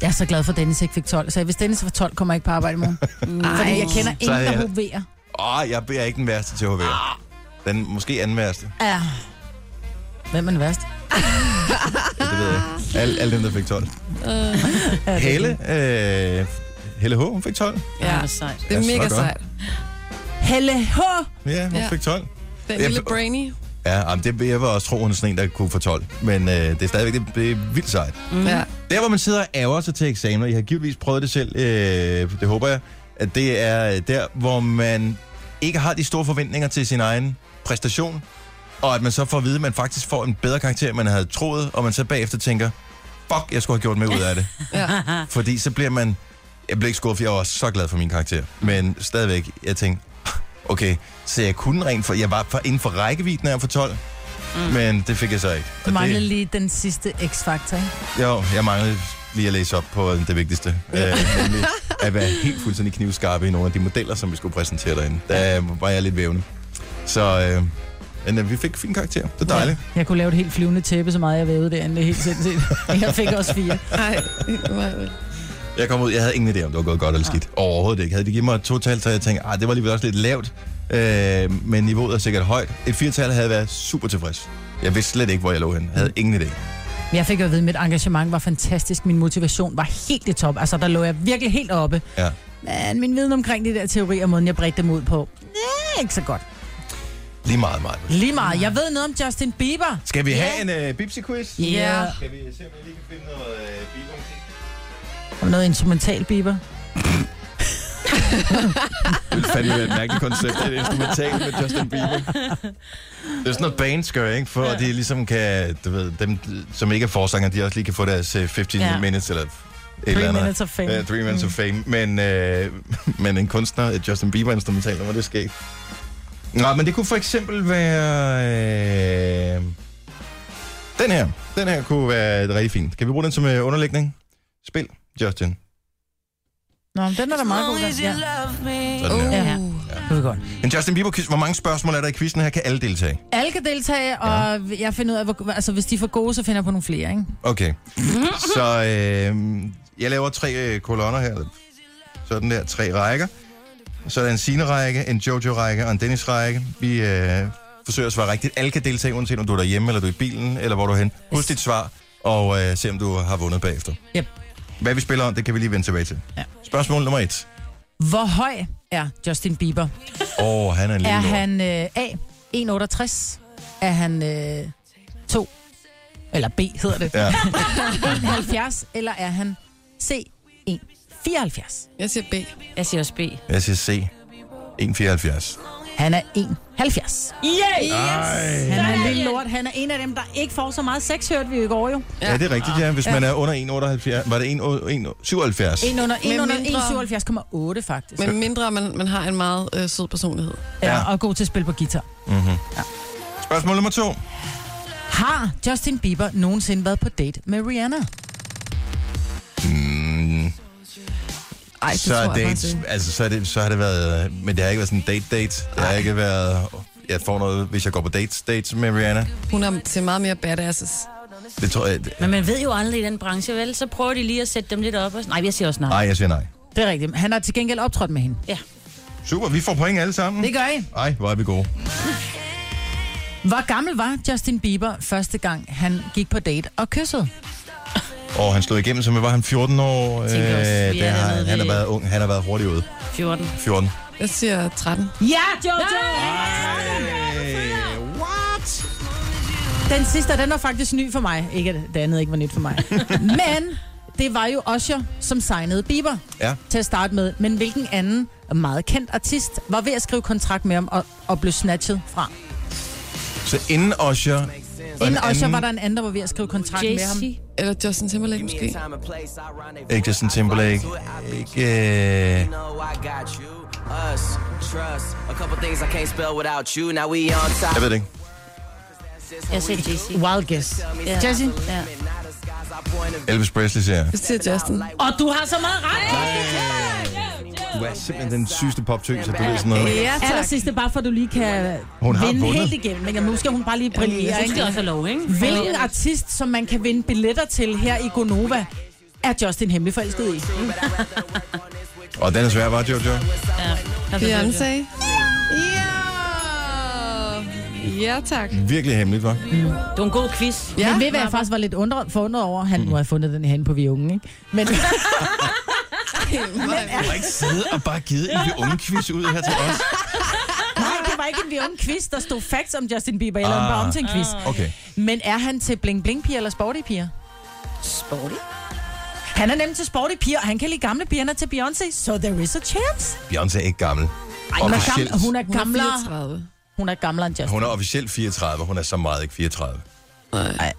S3: Jeg er så glad for, at Dennis ikke fik 12. Så hvis Dennis var 12, kommer jeg ikke på arbejde i morgen.
S2: Mm,
S3: Fordi jeg kender
S1: Så er
S3: ingen, der
S1: jeg-
S3: hoverer.
S1: Åh, oh, jeg er ikke den værste til at ah. Den måske anden værste,
S3: Ja. Hvem er den værst?
S1: ja, det ved jeg ikke. Al, alle dem, der fik 12. Helle, øh, Helle H, hun fik 12.
S2: Ja,
S4: Ja.
S2: hvor sejt.
S4: Det er
S1: Ja, så
S4: mega
S1: godt.
S4: sejt.
S3: Helle H.
S1: Ja, hun ja.
S4: Ja.
S1: fik 12.
S4: Den
S1: Ja,
S4: lille
S1: for-
S4: brainy.
S1: Ja, jamen, det, jeg vil også tro, hun er sådan en, der kunne få 12. Men øh, det er stadigvæk det, det er vildt sejt.
S4: Ja.
S1: Der, hvor man sidder og ærger sig til eksamener, I har givetvis prøvet det selv, øh, det håber jeg, at det er øh, der, hvor man ikke har de store forventninger til sin egen præstation, og at man så får at vide, at man faktisk får en bedre karakter, end man havde troet, og man så bagefter tænker, fuck, jeg skulle have gjort mere ud af det.
S4: Ja.
S1: Fordi så bliver man, jeg blev ikke skuffet, for jeg var så glad for min karakter, men stadigvæk, jeg tænkte, okay, så jeg kunne rent for, jeg var for, inden for rækkevidden af for 12, mm. men det fik jeg så ikke. Og
S3: Du manglede
S1: det-
S3: lige den sidste X-faktor, ikke?
S1: jo, jeg manglede lige at læse op på det vigtigste. Ja. Øh, nemlig at være helt fuldstændig knivskarpe i nogle af de modeller, som vi skulle præsentere derinde. Der var jeg øh, lidt vævende. Så øh, men, øh, vi fik fin karakter. Det er dejligt.
S3: Jeg kunne lave et helt flyvende tæppe, så meget jeg vævede derinde. Det er helt sindssygt. Jeg fik også fire.
S4: Nej,
S1: Jeg kom ud, jeg havde ingen idé, om det var gået godt eller skidt. Overhovedet ikke. Havde de givet mig et total, så jeg tænkte, ah, det var alligevel også lidt lavt. Øh, men niveauet er sikkert højt. Et firtal havde været super tilfreds. Jeg vidste slet ikke, hvor jeg lå henne. Jeg havde ingen idé.
S3: Men jeg fik jo at vide, at mit engagement var fantastisk. Min motivation var helt i top. Altså, der lå jeg virkelig helt oppe.
S1: Ja.
S3: Men min viden omkring de der teorier, måden jeg bredte dem ud på, det er ikke så godt.
S1: Lige meget, meget.
S3: Lige meget. Jeg ved noget om Justin Bieber.
S1: Skal vi have en øh, bipsi-quiz?
S3: Ja.
S4: Ja.
S3: Yeah.
S1: Skal vi se, om vi lige kan finde noget øh, bibelmusik?
S3: Yeah. Noget instrumental Bieber.
S1: Det ville fandme være et mærkeligt koncept, et instrumental med Justin Bieber. Det er sådan noget, bands gør, ikke? For at de ligesom kan, du ved, dem, som ikke er forsanger, de også lige kan få deres øh, 15
S2: Ja.
S1: minutes eller et eller
S3: Three
S1: andet.
S3: minutes of fame.
S1: Ja, three minutes mm. of fame. Men, øh, men en kunstner, et Justin Bieber instrumental, hvor det skægt. Nå, men det kunne for eksempel være... Øh, den her. Den her kunne være rigtig fint. Kan vi bruge den som øh, underlægning? Spil, Justin.
S3: Nå, men den er da meget god. der. Ja.
S1: Sådan der.
S3: Ja.
S4: Ja.
S3: Det var godt.
S1: En Justin Bieber-quiz. Hvor mange spørgsmål er der i quizzen her? Kan alle deltage?
S3: Alle kan deltage, og jeg finder ud af, hvor, altså hvis de er for gode, så finder jeg på nogle flere, ikke?
S1: Okay. Så øh, jeg laver tre øh, kolonner her. Sådan der, tre rækker. Så er der en Signe-række, en Jojo-række og en Dennis-række. Vi øh, forsøger at svare rigtigt. Alle kan deltage, uanset om du er derhjemme, eller du er i bilen, eller hvor du er hen. Husk dit svar, og øh, se om du har vundet bagefter.
S3: Yep.
S1: Hvad vi spiller om, det kan vi lige vende tilbage til.
S3: Ja.
S1: Spørgsmål nummer et.
S3: Hvor høj er Justin Bieber?
S1: Åh, oh, han er en lille
S3: Er
S1: lort.
S3: han øh, A, 168? Er han øh, 2? Eller B hedder det.
S1: Ja.
S3: 70? Eller er han C, 1, 74?
S4: Jeg siger B.
S2: Jeg siger også B.
S1: Jeg siger C. 1,74.
S3: Han er 1, 70.
S2: Yeah!
S3: Han er en lille lort. Han er en af dem, der ikke får så meget sex, hørte vi jo i går jo.
S1: Ja, det er rigtigt, ja. Hvis man er under 1,78... Var det 1,77?
S3: En under, en
S4: Med
S3: under
S4: mindre-
S3: 177,8 faktisk.
S4: Men mindre man, man har en meget øh, sød personlighed.
S3: Ja, og god til at spille på guitar.
S1: Spørgsmål nummer to.
S3: Har Justin Bieber nogensinde været på date med Rihanna?
S1: Mm.
S4: Ej, det
S1: så er
S4: tror jeg
S1: dates,
S4: faktisk.
S1: altså, så, er det, så har det været, øh, men det har ikke været sådan en date-date. Det har ikke været, jeg får noget, hvis jeg går på dates, dates med Rihanna.
S4: Hun er til meget mere badasses.
S1: Det tror jeg, det-
S2: Men man ved jo aldrig i den branche, vel? Så prøver de lige at sætte dem lidt op. Og... Nej, jeg siger også nej.
S1: nej, jeg siger nej.
S3: Det er rigtigt. Han har til gengæld optrådt med hende.
S2: Ja.
S1: Super, vi får point alle sammen.
S3: Det gør I.
S1: Ej, hvor er vi gode.
S3: Hvor gammel var Justin Bieber første gang, han gik på date og kyssede?
S1: Og han slog igennem, som var han 14 år. Øh,
S2: tænker også, vi er
S1: det har, han, han
S2: dernede
S1: har
S2: ved-
S1: været ung, han har været hurtigt ude.
S2: 14.
S1: 14.
S4: Jeg siger 13.
S3: Ja, Jojo! Den sidste, den var faktisk ny for mig. Ikke, at det andet ikke var nyt for mig. Men det var jo Usher, som signede Bieber
S1: Ja.
S3: til at starte med. Men hvilken anden meget kendt artist var ved at skrive kontrakt med ham og, og blev snatchet fra?
S1: Så inden Usher... og en
S3: Inden Usher
S1: anden-
S3: var der en anden, der var ved at skrive kontrakt med ham.
S2: JC.
S4: Eller Justin Timberlake måske.
S1: Ikke øh, Justin Timberlake. Ikke... Øh, jeg ved det ikke.
S2: Jeg siger JC.
S3: Wild guess.
S2: Ja.
S3: Jesse?
S2: Ja.
S1: Elvis Presley siger jeg.
S4: Jeg siger Justin.
S3: Og du har så meget ret!
S1: Du er simpelthen den sygeste poptøs, at du ved sådan noget.
S4: Ja,
S3: Aller
S4: tak.
S3: sidste, bare for at du lige kan
S1: Hun har
S3: vinde
S1: vundet.
S3: helt igennem. Ikke? Og nu skal hun bare lige brillere.
S2: Jeg
S3: Ikke?
S2: skal også have lov, ikke?
S3: Hvilken artist, som man kan vinde billetter til her i Gonova, er Justin hemmelig forelsket i?
S1: Og den er svær, var Jojo?
S4: Beyoncé. Ja! Ja, tak.
S1: Virkelig hemmeligt, var.
S2: Det var en god quiz.
S4: Ja,
S3: Men ved hvad jeg faktisk var lidt undret, forundret over? Han må have fundet den hen på Vi Unge, ikke? Men
S1: Du har ikke siddet og bare givet en lille unge quiz ud her til os.
S3: nej, det var ikke en Vi Unge quiz, der stod facts om Justin Bieber, eller ah. bare om til en quiz.
S1: Okay.
S3: Men er han til Bling Bling piger eller Sporty piger?
S2: Sporty.
S3: Han er nemlig til Sporty piger, og han kan lide gamle piger, han er til Beyoncé, so there is a chance.
S1: Beyoncé er ikke gammel.
S3: Hun er,
S1: Officielt.
S3: gammel, hun er
S4: Hun er
S3: gamlere,
S4: 34.
S3: hun er gamlere end Justin.
S1: Hun er officielt 34. Hun er så meget ikke 34.
S3: Hun er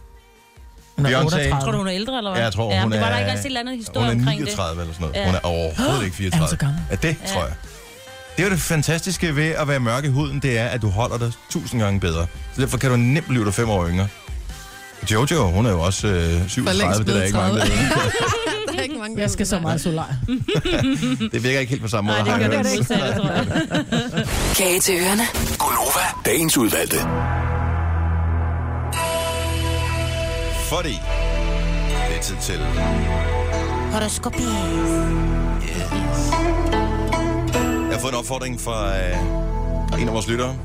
S1: Beyoncé.
S3: 38.
S2: Tror du, hun er ældre, eller hvad?
S1: Ja, jeg tror,
S2: ja,
S1: hun
S2: det var
S1: er...
S2: der ikke også et eller andet historie
S1: Hun er
S2: omkring
S1: 39 eller sådan noget.
S2: Ja.
S1: Hun er overhovedet ikke 34.
S3: Er hun så gammel?
S1: Ja, det tror jeg. Det er jo det fantastiske ved at være mørk i huden, det er, at du holder dig tusind gange bedre. Så derfor kan du nemt blive dig fem år yngre. Jojo, hun er jo også øh, 37, det er der
S4: blevet
S1: ikke mange, der ved.
S4: Der er ikke mange
S3: Jeg skal så meget solar.
S1: Det virker ikke helt på samme
S2: Nej,
S1: måde.
S2: det
S1: har
S2: gør
S1: jeg
S2: det
S1: hørt.
S2: ikke modsatte, tror jeg.
S6: Kage til ørerne.
S5: Gunova, dagens udvalgte.
S1: Fordi det er tid til... Yes. Jeg har fået en opfordring fra øh, en af vores lyttere.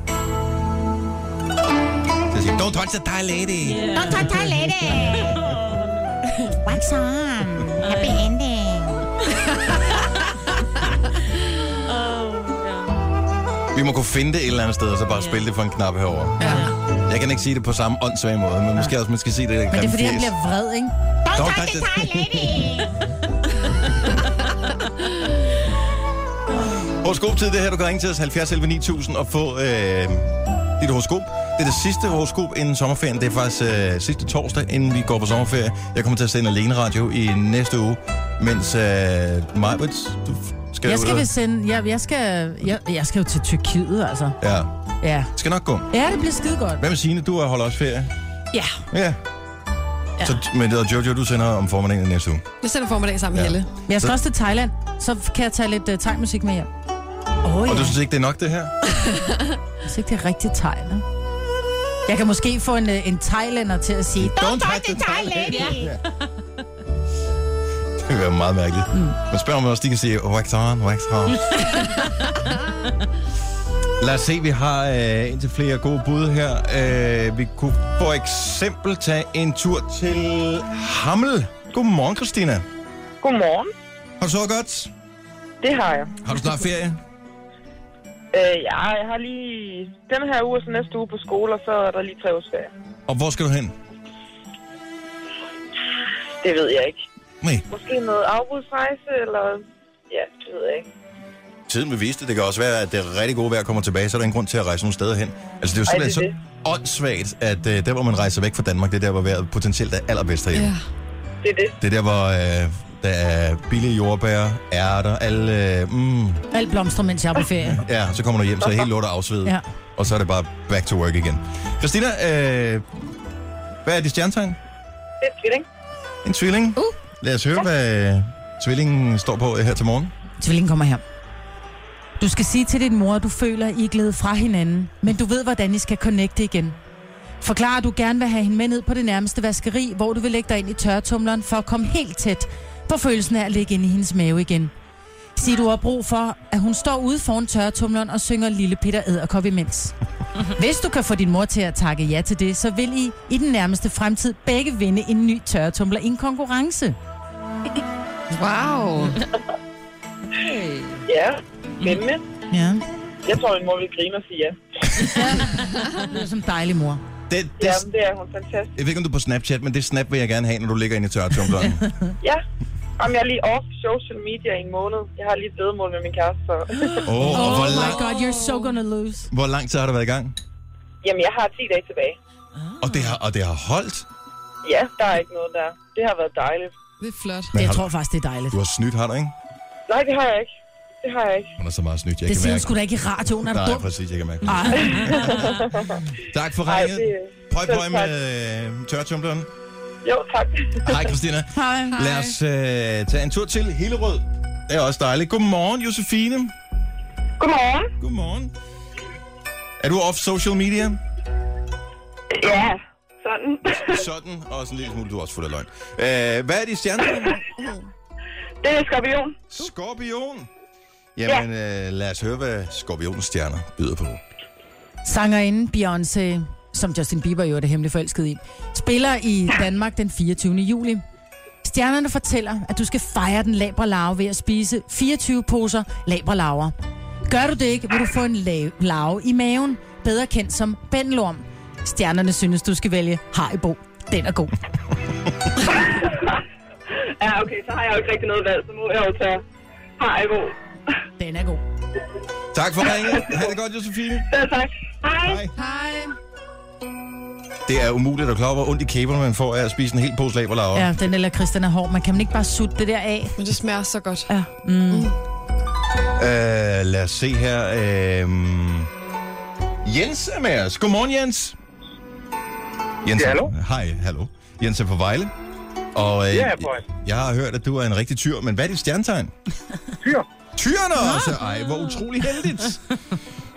S1: Til at sige, don't touch the Thai lady. Yeah.
S7: Don't talk Thai lady. Wax on. Happy ending.
S1: Vi må kunne finde det et eller andet sted, og så bare spille det for en knap herover.
S4: Ja.
S1: Jeg kan ikke sige det på samme åndssvage måde, men måske også, man skal sige det.
S3: Men det er, fordi han bliver vred, ikke?
S7: Don't
S1: Don't
S7: talk
S1: touch
S7: to
S1: the-
S7: Thai lady.
S1: Horoskop-tid, det er her, du kan ringe til os 70 11 9000 og få øh, dit horoskop. Det er det sidste horoskop inden sommerferien. Det er faktisk øh, sidste torsdag, inden vi går på sommerferie. Jeg kommer til at sende alene radio i næste uge, mens øh, Majbrits, du f- skal
S3: Jeg skal
S1: ud.
S3: vel sende... Jeg, jeg, skal, jeg, jeg skal jo til Tyrkiet, altså.
S1: Ja,
S3: Ja.
S1: det skal nok gå.
S3: Ja, det bliver skide godt.
S1: Hvad med Signe? Du øh, holder også ferie.
S2: Ja,
S1: Ja. ja. Så, men det er Jojo, du sender om formiddagen i næste uge.
S4: Jeg sender formiddag sammen med
S1: Ja.
S4: Helle.
S3: Men jeg skal også til Thailand. Så kan jeg tage lidt uh, thai-musik med hjem. Åh, oh,
S1: Og
S3: ja.
S1: du synes ikke, det er nok, det her?
S3: Jeg synes ikke, det er rigtig thai, ne? Jeg kan måske få en, øh, en thailander til at sige...
S1: Don't
S7: Talk to Thai lady.
S1: Det vil være meget mærkeligt. Mm. Man spørger, om også de kan sige, "Oh, wax on, wax on. Lad os se, vi har øh, indtil flere gode bud her. Øh, vi kunne for eksempel tage en tur til Hammel. Godmorgen, Christina.
S8: Godmorgen.
S1: Har du så godt?
S8: Det har jeg.
S1: Har du snart ferie?
S8: Øh, ja, jeg har lige den her uge og så næste uge på skole, og så er der lige tre års ferie.
S1: Og hvor skal du hen?
S8: Det ved jeg ikke.
S1: Nej.
S8: Måske noget afbudsrejse, eller... Ja, det ved jeg ikke.
S1: Tiden vil vise det. Det kan også være, at det rigtig gode vejr kommer tilbage, så er der ingen grund til at rejse nogen steder hen. Altså, det er
S8: Ej,
S1: jo
S8: det er
S1: simpelthen så åndssvagt, at øh, der, hvor man rejser væk fra Danmark, det er der, hvor vejret potentielt er allerbedst herhjemme.
S4: Ja.
S8: Det er det.
S1: Det er der, hvor øh, der er billige jordbær, ærter, alle... Øh, mm,
S3: Alt blomstrer, mens jeg er på ferie.
S1: ja, så kommer du hjem, så er helt lort og afsvedet. Ja.
S3: Ja.
S1: Og så er det bare back to work igen. Christina, øh, hvad er dit stjernetegn?
S8: Det er tvilling.
S1: En tvilling? Uh. Lad os høre, hvad tvillingen står på her til morgen.
S3: Tvillingen kommer her. Du skal sige til din mor, at du føler, at I er glædet fra hinanden, men du ved, hvordan I skal connecte igen. Forklar, at du gerne vil have hende med ned på det nærmeste vaskeri, hvor du vil lægge dig ind i tørretumleren for at komme helt tæt på følelsen af at ligge inde i hendes mave igen. Sig, du har brug for, at hun står ude foran tørretumleren og synger Lille Peter Æderkop imens. Hvis du kan få din mor til at takke ja til det, så vil I i den nærmeste fremtid begge vinde en ny tørretumler i en konkurrence.
S4: Wow.
S8: Ja, spændende.
S3: Ja,
S8: Jeg tror, min mor vil grine og sige ja.
S3: det er som dejlig mor.
S1: Det, det,
S8: Jamen, det er hun fantastisk.
S1: jeg ved ikke, om du er på Snapchat, men det snap vil jeg gerne have, når du ligger inde i tørretumbleren.
S8: Ja. Jamen, jeg er lige off social media i en måned. Jeg har lige et vedmål med min kæreste, så...
S1: Åh, oh, og hvor, lang,
S3: god, you're so gonna lose.
S1: hvor lang tid har du været i gang?
S8: Jamen, jeg har 10 dage tilbage.
S1: Og det har, og det har holdt.
S8: Ja, der er ikke noget der. Det har været dejligt.
S4: Det er flot.
S1: Men
S3: Jeg
S1: har,
S3: tror faktisk, det er dejligt.
S1: du har snydt, har du ikke?
S8: Nej, det har jeg ikke. Det har jeg ikke.
S1: Hun er så meget snydt, jeg
S3: Det
S1: kan
S3: siger hun
S1: mærke.
S3: sgu da ikke i radioen, er du
S1: Nej,
S3: dum?
S1: præcis, jeg kan mærke. det.
S3: Ej,
S1: Tak for
S8: Nej,
S1: ringet.
S8: det...
S1: Pøj,
S8: Selv
S1: pøj med øh, tørretumbleren.
S8: Jo, tak.
S1: Hej, Christina.
S3: hej.
S1: Lad os øh, tage en tur til Hillerød. Det er også dejligt. Godmorgen, Josefine.
S8: Godmorgen.
S1: Godmorgen. Er du off social media?
S8: Ja, sådan.
S1: Sådan, og sådan en lille smule, du er også fuld af løgn. Øh, hvad er dit stjernetegn?
S8: det er skorpion.
S1: Skorpion. Jamen, øh, lad os høre, hvad Skorpionens stjerner byder på.
S3: Sangerinden Beyoncé, som Justin Bieber jo er det hemmeligt forelsket i, spiller i Danmark den 24. juli. Stjernerne fortæller, at du skal fejre den labre larve ved at spise 24 poser labre larver. Gør du det ikke, vil du få en la- larve i maven, bedre kendt som bendelorm. Stjernerne synes, du skal vælge Haribo. Den er god.
S8: Ja, okay, så har jeg jo ikke rigtig noget valg, så må jeg jo tage Haribo.
S3: Den er god.
S1: Tak for ringet. Ha' det godt, Josefine.
S8: Så tak. Hej.
S1: Hej. Det er umuligt at klare, hvor ondt i kæberne man får af at spise en hel pose laberlaver.
S3: Ja, den eller Christian er hård. Man kan man ikke bare sutte det der af?
S4: Men det smager så godt.
S3: Ja. Mm.
S1: Øh, lad os se her. Øh, Jens er med os. Godmorgen, Jens. Jens
S8: Ja, hallo.
S1: Hej, hallo. Jens er på Vejle. Og øh,
S8: Ja, boy.
S1: jeg har hørt, at du er en rigtig tyr, men hvad er dit stjernetegn?
S8: Fyr.
S1: Tyren også! Ej, hvor utrolig heldigt.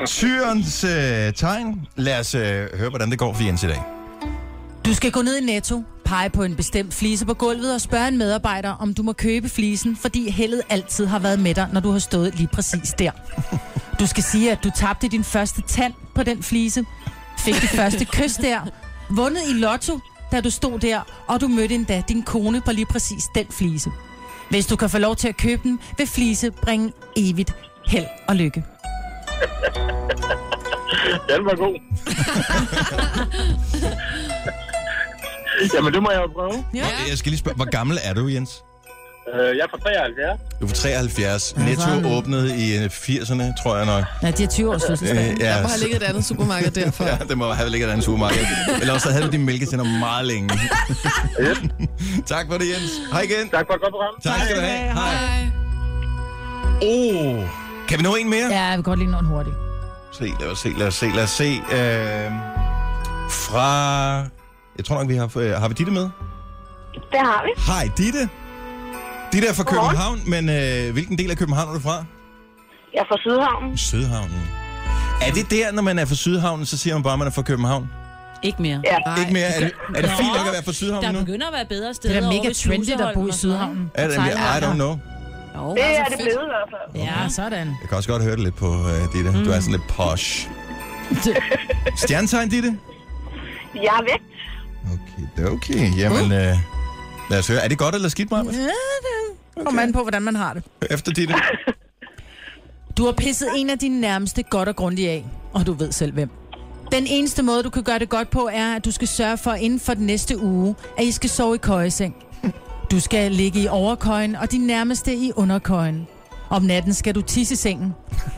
S1: Tyrens øh, tegn. Lad os øh, høre, hvordan det går for Jens i dag.
S3: Du skal gå ned i Netto, pege på en bestemt flise på gulvet og spørge en medarbejder, om du må købe flisen, fordi heldet altid har været med dig, når du har stået lige præcis der. Du skal sige, at du tabte din første tand på den flise, fik det første kys der, vundet i lotto, da du stod der, og du mødte endda din kone på lige præcis den flise. Hvis du kan få lov til at købe den, vil flise bringe evigt held og lykke.
S8: Den var god. Jamen, det må jeg jo prøve.
S1: Ja. Jeg skal lige spørge, hvor gammel er du, Jens?
S8: Øh, jeg er fra 73.
S1: Du er på 73.
S3: sådan.
S1: Netto åbnede i øh, 80'erne, tror jeg nok.
S3: Ja, de er 20 års fødselsdag.
S1: Øh,
S4: Jeg
S1: ja,
S4: må have
S1: så-
S4: ligget et andet supermarked derfor.
S1: Ja, det må have ligget i en supermarked. Eller også havde du dine mælketænder meget længe. tak for det, Jens. Hej igen.
S8: Tak for et godt program.
S1: Tak skal du have. Hej.
S4: Hej.
S1: Oh, kan vi nå en mere?
S3: Ja, jeg vil godt lige nå den hurtigt.
S1: Se, lad os se, lad os se, lad os se. Øh, fra... Jeg tror nok, vi har... Øh, har vi Ditte med?
S9: Det har vi.
S1: Hej, Ditte. Ditte er fra København, men øh, hvilken del af København er du fra?
S9: Jeg er fra Sydhavnen.
S1: Sydhavnen. Er det der, når man er fra Sydhavnen, så siger man bare, at man er fra København?
S2: Ikke mere.
S9: Ja.
S1: Ej, ikke mere. Er det, er det
S2: Nå.
S1: fint nok at være fra Sydhavnen
S2: Der
S1: nu?
S2: begynder at være bedre steder
S3: Det er da
S2: over
S3: mega
S2: ved
S3: trendy at bo
S2: Sluseholm
S3: i
S2: og sådan
S3: Sydhavnen.
S1: Er det, I don't know.
S2: noget.
S9: Det
S2: Jo, altså.
S9: er det blevet i hvert fald.
S3: Ja, sådan.
S1: Jeg kan også godt høre det lidt på uh, Ditte. Mm. Du er sådan lidt posh. Stjernetegn, Ditte?
S9: Jeg er væk.
S1: Okay, det er okay. Jamen, uh. lad os høre. Er det godt eller skidt, Maja?
S3: Ja, det kommer an på, hvordan man har det.
S1: Efter Ditte?
S3: Du har pisset en af dine nærmeste godt og grundigt af, og du ved selv hvem. Den eneste måde, du kan gøre det godt på, er, at du skal sørge for inden for den næste uge, at I skal sove i køjeseng. Du skal ligge i overkøjen, og din nærmeste i underkøjen. Om natten skal du tisse i sengen.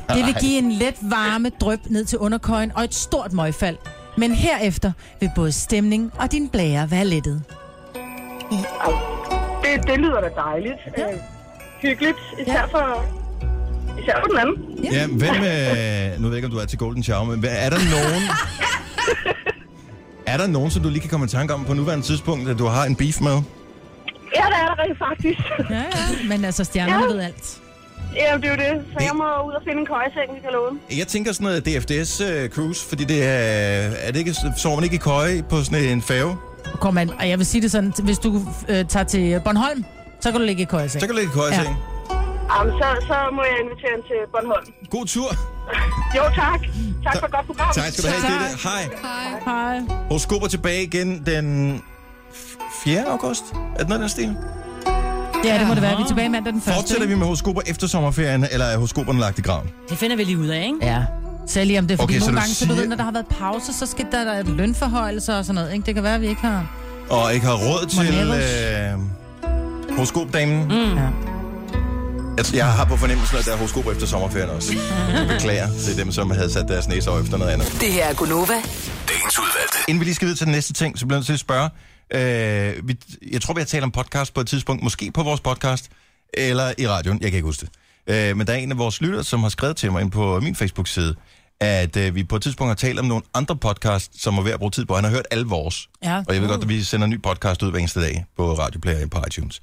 S3: Det vil give en let varme drøb ned til underkøjen og et stort møgfald. Men herefter vil både stemning og din blære være lettet.
S9: Det, det lyder da dejligt. Ja. Øh, hyggeligt. Især for, især for den anden.
S1: ja, hvem... Uh, nu ved jeg ikke, om du er til Golden Shower, men hvad- er der nogen... er der nogen, som du lige kan komme i tanke om på nuværende tidspunkt, at du har en beef med?
S9: Ja, det er der rent faktisk.
S3: Ja, ja. Men altså, stjernerne
S9: Ja.
S3: ved alt.
S9: ja, det er jo det. Så jeg må ud og finde en køjeseng, vi kan låne.
S1: Jeg tænker sådan noget DFDS uh, cruise, fordi det er... er det ikke, sover man ikke i køje på sådan en fave?
S3: Kom an, og jeg vil sige det sådan, hvis du øh, tager til Bornholm, så kan du ligge i køjeseng.
S1: Så kan du ligge i køje ja.
S3: Ja.
S9: Jamen, så, så må jeg invitere hende til Bornholm.
S1: God tur.
S9: Jo, tak. Tak for et godt program.
S1: Tak skal du have, Ditte. Hej.
S3: Hej.
S1: Horoskoper tilbage igen den f- 4. august. Er det noget af den stil?
S3: Ja, det må det være. Vi er tilbage mandag den første.
S1: Fortsætter vi med horoskoper efter sommerferien, eller er horoskoperne lagt i graven?
S2: Det finder vi lige ud af, ikke?
S3: Ja. Så lige om det, er, fordi
S1: Okay,
S3: okay,
S1: så
S3: nogle
S1: du
S3: gange, siger... så du
S1: siger-
S3: ved, når der har været pause, så skal der, der et lønforhøjelse og sådan noget. Ikke? Det kan være, at vi ikke har...
S1: Og ikke har råd til
S3: ellers?
S1: øh, horoskopdamen? Mm.
S3: Ja.
S1: Jeg, jeg har på fornemmelsen, at der er horoskoper efter sommerferien også. Jeg beklager til dem, som havde sat deres næser efter noget andet.
S6: Det her er Gunova.
S5: Dagens udvalgte.
S1: Inden vi lige skal videre til den næste ting, så bliver jeg nødt til at spørge. Øh, vi, jeg tror, vi har talt om podcast på et tidspunkt. Måske på vores podcast, eller i radioen. Jeg kan ikke huske det. Øh, men der er en af vores lyttere, som har skrevet til mig ind på min Facebook-side, at øh, vi på et tidspunkt har talt om nogle andre podcast, som var ved at bruge tid på. Han har hørt alle vores.
S3: Ja.
S1: Og jeg ved godt, at vi sender en ny podcast ud hver eneste dag på Radio Player og på iTunes.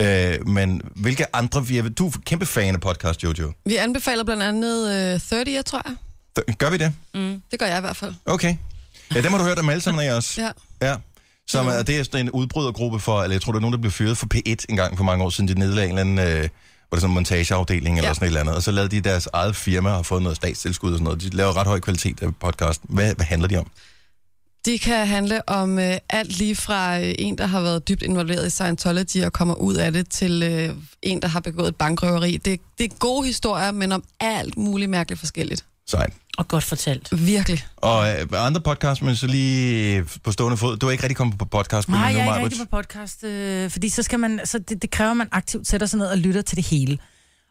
S1: Øh, men hvilke andre... Vi er, du er kæmpe fan af podcast, Jojo.
S4: Vi anbefaler blandt andet øh, 30, jeg tror jeg.
S1: Gør vi det?
S4: Det gør jeg i hvert fald.
S1: Okay. Ja, dem har du hørt om alle sammen af os.
S4: Ja.
S1: Ja. Som er, det er sådan en udbrydergruppe for, eller jeg tror, der er nogen, der blev fyret for P1 en gang for mange år siden. De nedlagde en eller anden, øh, var det sådan en montageafdeling eller
S4: Ja.
S1: sådan et eller andet. Og så lavede de deres eget firma og har fået noget statstilskud og sådan noget. De laver ret høj kvalitet af podcast. Hvad, hvad handler de om?
S4: De kan handle om øh, alt lige fra øh, en, der har været dybt involveret i Scientology og kommer ud af det, til øh, en, der har begået et bankrøveri. Det, det er gode historier, men om alt muligt mærkeligt forskelligt.
S1: Sejt.
S2: Og godt fortalt.
S4: Virkelig.
S1: Og øh, andre podcasts, men så lige øh, på stående fod. Du er ikke rigtig kommet på podcast.
S3: Nej, jeg er ikke rigtig på podcast, øh, fordi så skal man, så det, det kræver, at man aktivt sætter sig ned og lytter til det hele.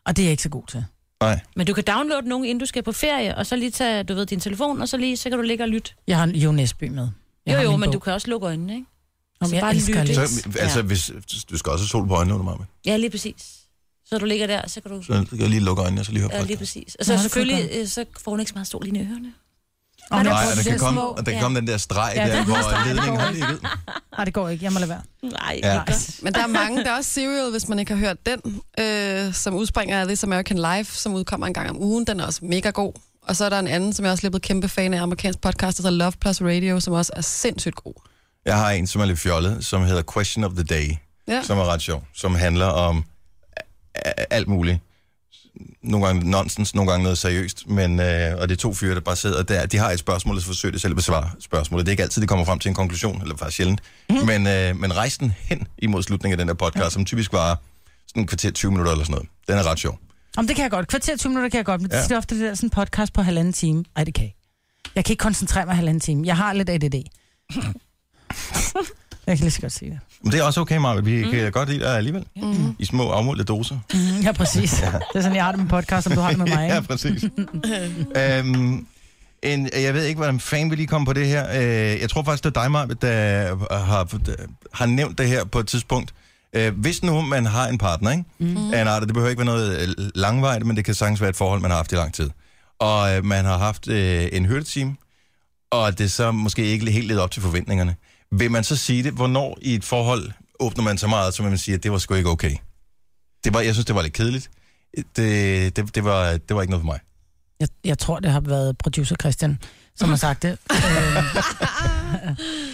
S3: Og det er jeg ikke så god til.
S1: Nej.
S2: Men du kan downloade nogen, inden du skal på ferie, og så lige tage, du ved, din telefon, og så lige, så kan du ligge og lytte.
S3: Jeg har Jo Nesby med. Jeg
S2: Jo,
S3: har
S2: jo,
S3: min
S2: men
S3: bog.
S2: du kan også lukke øjnene, ikke?
S3: Om
S2: så
S3: jeg
S2: bare
S3: elsker at
S2: lytte.
S3: lytte.
S1: Så, altså, ja. hvis, du skal også have sol på øjnene under mig.
S2: Ja, lige præcis. Så du ligger der, så kan du...
S1: Så jeg lige lukke øjnene, og så lige høre
S2: Ja, lige
S1: podcast.
S2: præcis. Og så
S3: Nå, det kunne
S2: selvfølgelig,
S3: godt.
S2: øh, så får hun ikke så meget sol i ørerne.
S3: Og
S1: Nej, og der kan, komme, og der kan komme den der streg ja,
S3: Ja,
S1: der,
S3: den
S1: hvor ledningen er lige ved.
S3: Nej, det går ikke. Jeg må lade være. Altså,
S2: Nej,
S1: Ja.
S2: ja.
S4: Men der er mange, der er også Serial, hvis man ikke har hørt den, øh, som udspringer af This American Life, som udkommer en gang om ugen. Den er også mega god. Og så er der en anden, som jeg også er blevet kæmpe fan af, amerikansk podcast, der hedder Love Plus Radio, som også er sindssygt god.
S1: Jeg har en, som er lidt fjollet, som hedder Question of the Day,
S4: Ja.
S1: som er ret sjov, som handler om a- a- alt muligt. Nogle gange nonsens, nogle gange noget seriøst, men, øh, og det er to fyre, der bare sidder der. De har et spørgsmål, og så forsøger de selv at besvare spørgsmålet. Det er ikke altid, de kommer frem til en konklusion, eller faktisk sjældent. Mm. Men, øh, men rejsen hen imod slutningen af den der podcast, som typisk varer sådan en kvarter 20 minutter eller sådan noget, den er ret sjov.
S3: Om det kan jeg godt. Kvarter 20 minutter kan jeg godt, men
S1: Ja.
S3: ja. det er ofte det der sådan podcast på halvanden time. Nej, det kan jeg ikke. Jeg kan ikke koncentrere mig halvanden time. Jeg har lidt ADD. jeg kan lige så godt sige det.
S1: Men det er også okay, Marvind. Vi kan godt lide dig alligevel. Mm. I små afmålte doser.
S3: Mhm, Ja, præcis. Det er sådan, jeg har det med podcast, som du har det med mig.
S1: ja,
S3: Ikke?
S1: præcis. øhm, en, jeg ved ikke, hvordan fanden vi lige kom på det her. Øh, jeg tror faktisk, det er dig, Marve, der har, der har nævnt det her på et tidspunkt. Øh, hvis nu man har en partner, ikke? Mm. Af en art, og det behøver ikke være noget øh, langvejt, men det kan sagtens være et forhold, man har haft i lang tid. Og øh, man har haft øh, en hyrdeteam, og det så måske ikke helt ledet op til forventningerne. Vil man så sige det, hvornår i et forhold åbner man så meget, så man siger, at det var sgu ikke okay? Det var, jeg synes, det var lidt kedeligt det, det, det, var, det var ikke noget for mig.
S3: Jeg, jeg tror, det har været producer Christian, som har sagt det.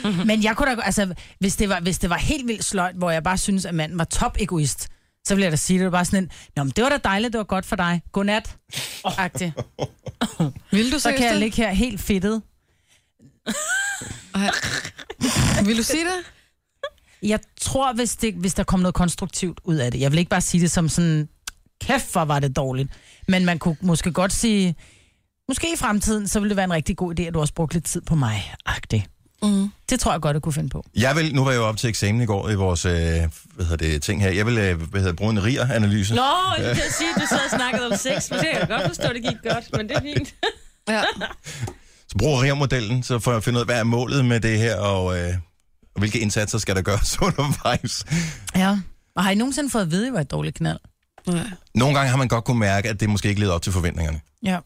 S3: Øh. Men jeg kunne da, altså, hvis det, var, hvis det var helt vildt sløjt, hvor jeg bare synes, at manden var top egoist, så ville jeg da sige, det var bare sådan en, Nå, men det var da dejligt, det var godt for dig. Godnat. Agtig.
S4: Vil du
S3: Så kan jeg ligge her helt fedtet.
S4: Vil du sige det?
S3: Jeg tror, hvis, det, hvis der kom noget konstruktivt ud af det. Jeg vil ikke bare sige det som sådan, kæft hvor var det dårligt. Men man kunne måske godt sige, måske i fremtiden, så ville det være en rigtig god idé, at du også brugte lidt tid på mig. Agtig.
S4: Mm.
S3: Det tror jeg godt, jeg kunne finde på.
S1: Jeg vil, nu var jeg jo op til eksamen i går i vores øh, hvad hedder det, ting her. Jeg vil øh, hvad hedder, det, bruge en RIR-analyse.
S2: Nå, jeg kan sige, at du sad og snakkede om sex, men det kan jeg godt forstå, det gik godt, men det er fint.
S4: Ja.
S1: Så bruger RIR-modellen, så får jeg finde ud af, hvad er målet med det her, og, øh, og hvilke indsatser skal der gøres undervejs.
S3: Ja. Og har I nogensinde fået at vide, at I var et dårligt knald?
S4: Nej.
S1: Nogle gange har man godt kunne mærke, at det måske ikke leder op til forventningerne.
S3: Ja.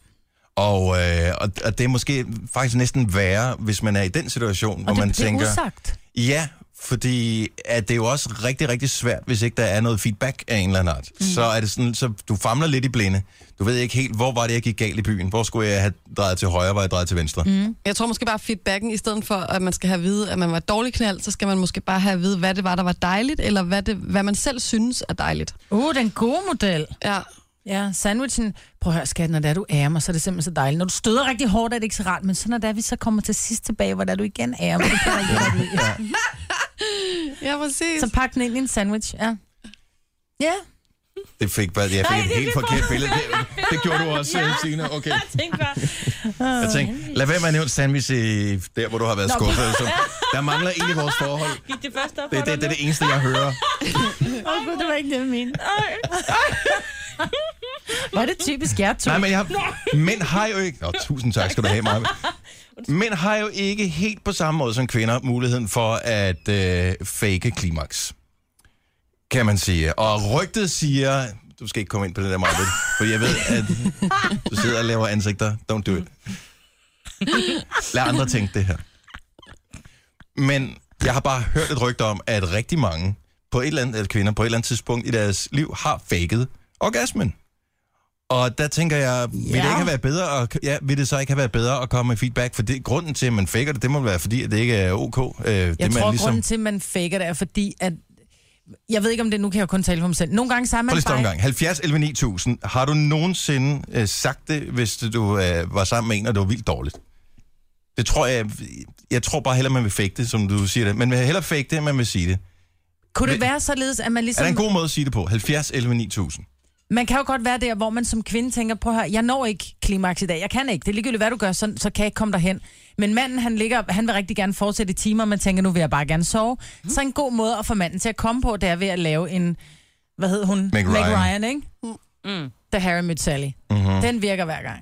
S1: Og, øh, og, og det er måske faktisk næsten værre, hvis man er i den situation, hvor
S3: Og det,
S1: man
S3: det er
S1: tænker...
S3: usagt.
S1: Ja, fordi at det er jo også rigtig, rigtig svært, hvis ikke der er noget feedback af en eller anden art. Mm. Så er det sådan, så du famler lidt i blinde. Du ved ikke helt, hvor var det, jeg gik galt i byen? Hvor skulle jeg have drejet til højre, var jeg drejet til venstre? Mm.
S4: Jeg tror måske bare feedbacken, i stedet for at man skal have at vide, at man var et dårligt knald, så skal man måske bare have at vide, hvad det var, der var dejligt, eller hvad, det, hvad man selv synes er dejligt.
S3: Uh, den gode model.
S4: Ja.
S3: Ja, sandwichen. Prøv at høre, skat, når det er, du ærer mig, så er det simpelthen så dejligt. Når du støder rigtig hårdt, er det ikke så rart, men så når det er, vi så kommer til sidst tilbage, hvor det er, du igen ærer mig. det kan jeg ikke lide.
S4: Ja, præcis.
S3: Så pak den ind i en sandwich, ja. Ja.
S1: Det fik bare, jeg fik
S2: Nej,
S1: et
S2: det
S1: helt
S2: blev
S1: forkert billede. Det, det gjorde du også, ja. Signe. Okay.
S2: Jeg tænkte bare,
S1: Jeg tænkte, lad være med at nævne sandwich i, der, hvor du har været skuffet. Så, der mangler egentlig vores forhold.
S2: gik det først op
S1: Det, det,
S2: for
S1: det er
S2: dig
S1: det eneste, jeg hører.
S3: Åh, oh, gud, det var ikke det, jeg mente. Var det typisk jer to?
S1: Nej, men jeg har... Mænd har jo ikke... Nå, tusind tak skal du have, Maja. Mænd har jo ikke helt på samme måde som kvinder muligheden for at øh, fake klimaks, kan man sige. Og rygtet siger... Du skal ikke komme ind på det der, Maja, for jeg ved, at du sidder og laver ansigter. Don't do it. Lad andre tænke det her. Men jeg har bare hørt et rygte om, at rigtig mange på et eller andet, eller kvinder på et eller andet tidspunkt i deres liv har faket orgasmen. Og der tænker jeg, vil, det ikke have været bedre at, ja, vil det så ikke have været bedre at komme med feedback? For det, grunden til, at man faker det, det må være, fordi at det ikke er ok. Øh, det,
S3: Jeg tror,
S1: man
S3: ligesom... grunden til, at man faker det, er fordi, at... Jeg ved ikke, om det nu kan jeg jo kun tale for mig selv. Nogle gange så er
S1: Prøv
S3: man
S1: lige at
S3: bare...
S1: stoppe en gang. 70 11 9000. Har du nogensinde øh, sagt det, hvis du øh, var sammen med en, og det var vildt dårligt? Det tror jeg... Jeg tror bare hellere, man vil fake det, som du siger det. Man vil hellere fake det, end man vil sige det.
S3: Kunne det
S1: Men-
S3: være således, at man
S1: Er
S3: ligesom...
S1: der en god måde at sige det på? 70 11 9000.
S3: Man kan jo godt være der, hvor man som kvinde tænker, prøv her, jeg når ikke klimaks i dag, jeg kan ikke, det er ligegyldigt, hvad du gør, så, så kan jeg ikke komme derhen. Men manden, han, ligger, han vil rigtig gerne fortsætte i timer, man tænker, nu vil jeg bare gerne sove.
S1: Mhm.
S3: Mm. Så en god måde at få manden til at komme på, det er ved at lave en, hvad hed hun?
S1: Meg Ryan. Mhm.
S3: Ryan, ikke? Mm. Da Harry mødte Sally. Mm-hmm. Den virker hver gang.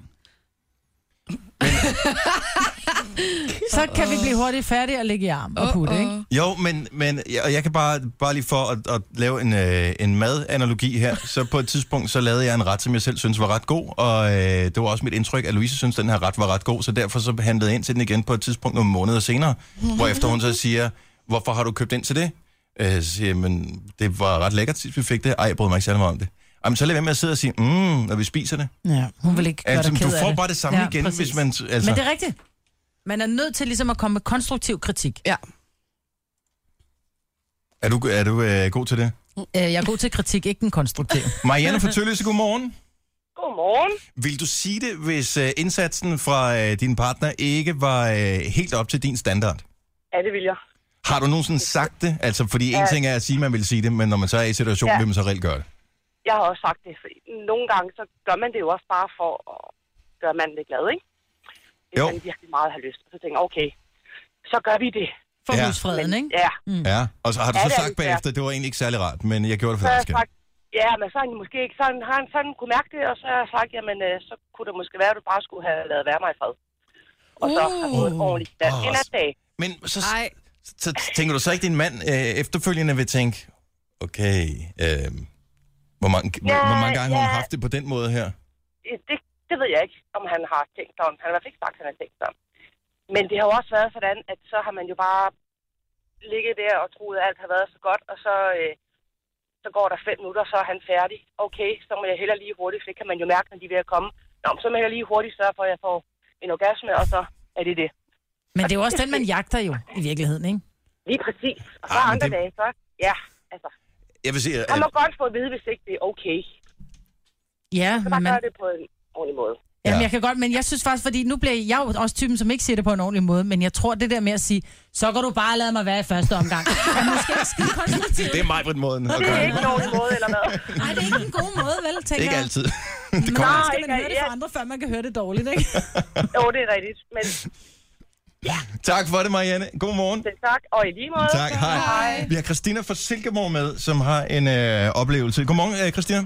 S3: Så kan vi blive hurtigt færdige og ligge i arm og putte, ikke?
S1: Jo, men, men jeg, og jeg kan bare, bare lige for at, at lave en, øh, en madanalogi her, så på et tidspunkt, så lavede jeg en ret, som jeg selv synes var ret god, og øh, det var også mit indtryk, at Louise synes, den her ret var ret god, så derfor så handlede jeg ind til den igen på et tidspunkt nogle måneder senere, hvor efter hun så siger, hvorfor har du købt ind til det? Øh, så siger jeg, men det var ret lækkert, sidst vi fik det. Ej, jeg brød mig ikke særlig meget om det. Jamen, så lad være med at sidde og sige, mm, når vi spiser det.
S3: Ja, hun vil ikke gøre
S1: Altså,
S3: dig ked
S1: du
S3: af
S1: får
S3: det.
S1: bare det samme igen,
S3: præcis.
S1: hvis man- altså-
S3: Men det er rigtigt. Man er nødt til ligesom at komme med konstruktiv kritik.
S4: Ja.
S1: Er du, er du øh, god til det?
S3: Øh, Jeg er god til kritik, ikke den konstruktive.
S1: Marianne fra Tølløse, godmorgen.
S9: Godmorgen.
S1: Vil du sige det, hvis øh, indsatsen fra øh, din partner ikke var øh, helt op til din standard?
S9: Ja, det vil jeg.
S1: Har du nogensinde sagt det? Altså, fordi en
S9: Ja.
S1: ting er at sige, at man vil sige det, men når man så er i situationen,
S9: Ja.
S1: vil man så reelt gøre det.
S9: Jeg har også sagt det. for Nogle gange, så gør man det jo også bare for at gøre manden lidt glad, ikke? Hvis
S1: Jo.
S9: man virkelig meget har lyst. Så tænker jeg, okay, så gør vi det.
S3: For
S1: Ja.
S3: ja. husfreden, ikke?
S9: Ja,
S1: Mm. Ja, og så har du
S9: Ja,
S1: så
S9: det er
S1: sagt
S9: det,
S1: bagefter, det var egentlig ikke særlig rart, men jeg gjorde det
S9: så
S1: for
S9: har
S1: dig, skat.
S9: jeg sagt, ja, men så har han måske ikke sådan, har han sådan kunne mærke det, og så har jeg sagt, jamen, øh, så kunne det måske være, at du bare skulle have lavet være mig i fred. Og så har jeg fået ordentligt stand.
S1: Åh,
S9: En
S1: også-
S9: anden dag.
S1: Men så,
S4: Nej,
S1: så, så tænker du så ikke, at din mand øh, efterfølgende vil tænke, okay, øh, hvor, mange, ja,
S9: Ja,
S1: hvor mange gange har hun
S9: ja.
S1: haft det på den måde her?
S9: Øh, det, det ved jeg ikke, om han har tænkt sig om. Han har i hvert fald ikke sagt, at han har tænkt sig om. Men det har jo også været sådan, at så har man jo bare ligget der og troet, at alt har været så godt, og så, øh, så går der fem minutter, så er han færdig. Okay, så må jeg heller lige hurtigt, for det kan man jo mærke, når de er ved at komme. Nå, men så må jeg lige hurtigt sørge for, at jeg får en orgasme, og så er det det.
S3: Men det er jo også den, man jagter jo, i virkeligheden, ikke?
S9: Lige præcis. Og så
S1: Ej, Ah, men
S9: andre
S1: det-
S9: det... dage, så ja, altså.
S1: Jeg vil sige, at,
S9: Han må godt få at vide, hvis ikke det er okay.
S3: Ja,
S9: Så bare
S1: Mm,
S3: men,
S9: gør det på en ordentlig måde.
S3: jamen, jeg kan godt, men jeg synes faktisk, fordi nu bliver jeg jo også typen, som ikke siger det på en ordentlig måde, men jeg tror det der med at sige, så kan du bare lade mig være i første omgang. er måske ikke skide konstruktivt.
S1: det er mig på den måde.
S9: Det er
S1: Okay.
S9: ikke nogen måde, eller hvad?
S3: Nej, det er ikke en god måde, vel, tænker
S1: Ikke
S3: jeg.
S1: altid. det
S3: Men
S1: kommer
S3: nej, skal man
S9: ikke-
S3: høre det fra andre, før man kan høre det dårligt, ikke?
S9: Jo, det er rigtigt. Men
S1: Tak for det, Marianne. God morgen.
S9: selv tak, og i lige måde.
S1: Tak, hej. hej. Vi har Christina fra Silkeborg med, som har en øh, oplevelse. Godmorgen, øh, Christina.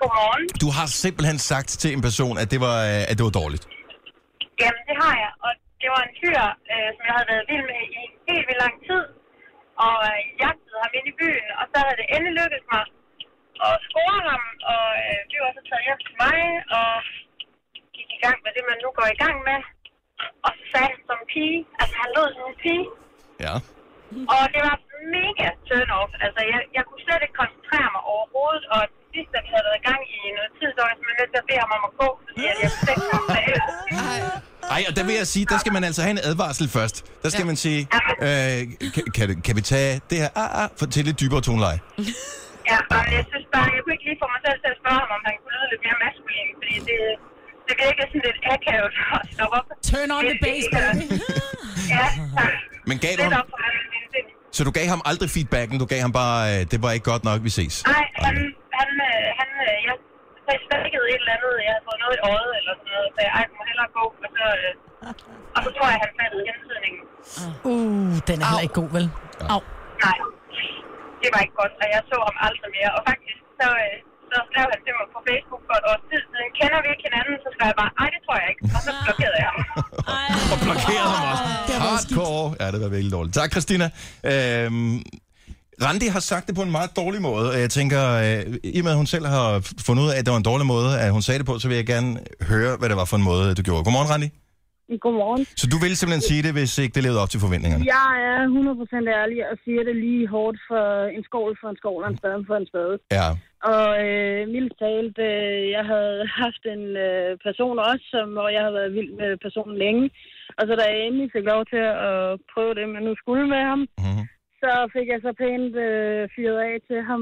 S9: Godmorgen.
S1: Du har simpelthen sagt til en person, at det var, øh, at det var dårligt.
S9: Jamen, det har jeg. Og det var en fyr, øh, som jeg havde været vild med i helt vildt lang tid. Og øh, jagtede ham ind i byen, og så havde det endelig lykkedes mig at score ham. Og øh, vi var så taget hjem til mig, og gik i gang med det, man nu går i gang med. Og så sagde han som en pige. Altså, han lød som en pige.
S1: Ja.
S9: Og det var mega turn-off. Altså, jeg, jeg kunne slet ikke koncentrere mig overhovedet, og til sidst, da vi havde været i gang i noget tid, så var jeg simpelthen nødt til at bede ham om at gå, fordi at jeg kunne slet ikke komme af.
S1: Ej, og der vil jeg sige, der skal man altså have en advarsel først. Der skal man sige, øh, kan, kan, du- kan vi tage det her ah, ah, for, til lidt dybere toneleje?
S9: Ja, og jeg synes bare, jeg kunne ikke lige få mig selv til at spørge ham, om han kunne lyde lidt mere maskulin, fordi det, det virkede sådan lidt akavet at stoppe op.
S3: Turn on the bass, baby.
S9: Ja, tak.
S1: Men gav du
S9: Lidt
S1: ham,
S9: op for ham. men det-
S1: så du gav ham aldrig feedbacken, du gav ham bare, øh, det var ikke godt nok, vi ses.
S9: Nej, han, han, øh, han, øh, jeg forstærkede et eller andet, jeg havde fået noget i øjet eller sådan noget, så jeg, ej, jeg må hellere gå, og så, øh, og så tror jeg, han fattede hentydningen.
S3: Uh, den er heller ikke god, vel? Au.
S9: Nej, det var ikke godt, og jeg så ham aldrig mere. Og faktisk, så, øh, så skrev han til mig på Facebook for et års tid siden, kender vi ikke hinanden? Så skrev jeg bare, nej, det tror jeg ikke. Og så blokerede jeg ham.
S1: Og blokerede ham også. Hardcore. Ja, det var virkelig dårligt. Tak, Christina. Øhm, Randi har sagt det på en meget dårlig måde, og jeg tænker, øh, i og med at hun selv har f- fundet ud af, at det var en dårlig måde, at hun sagde det på, så vil jeg gerne høre, hvad det var for en måde, du gjorde. Godmorgen, Randi.
S10: Godmorgen.
S1: Så du ville simpelthen sige det, hvis ikke det levede op til forventningerne?
S10: Jeg er 100% ærlig og siger det lige hårdt for en skål for en skål og en spade for en spade.
S1: Ja.
S10: Og øh, mildt talt, øh, jeg havde haft en øh, person også, som, og jeg havde været vild med personen længe. Og så da jeg endelig fik lov til at prøve det, man nu skulle med ham,
S1: Mhm.
S10: så fik jeg så pænt øh, fyret af til ham,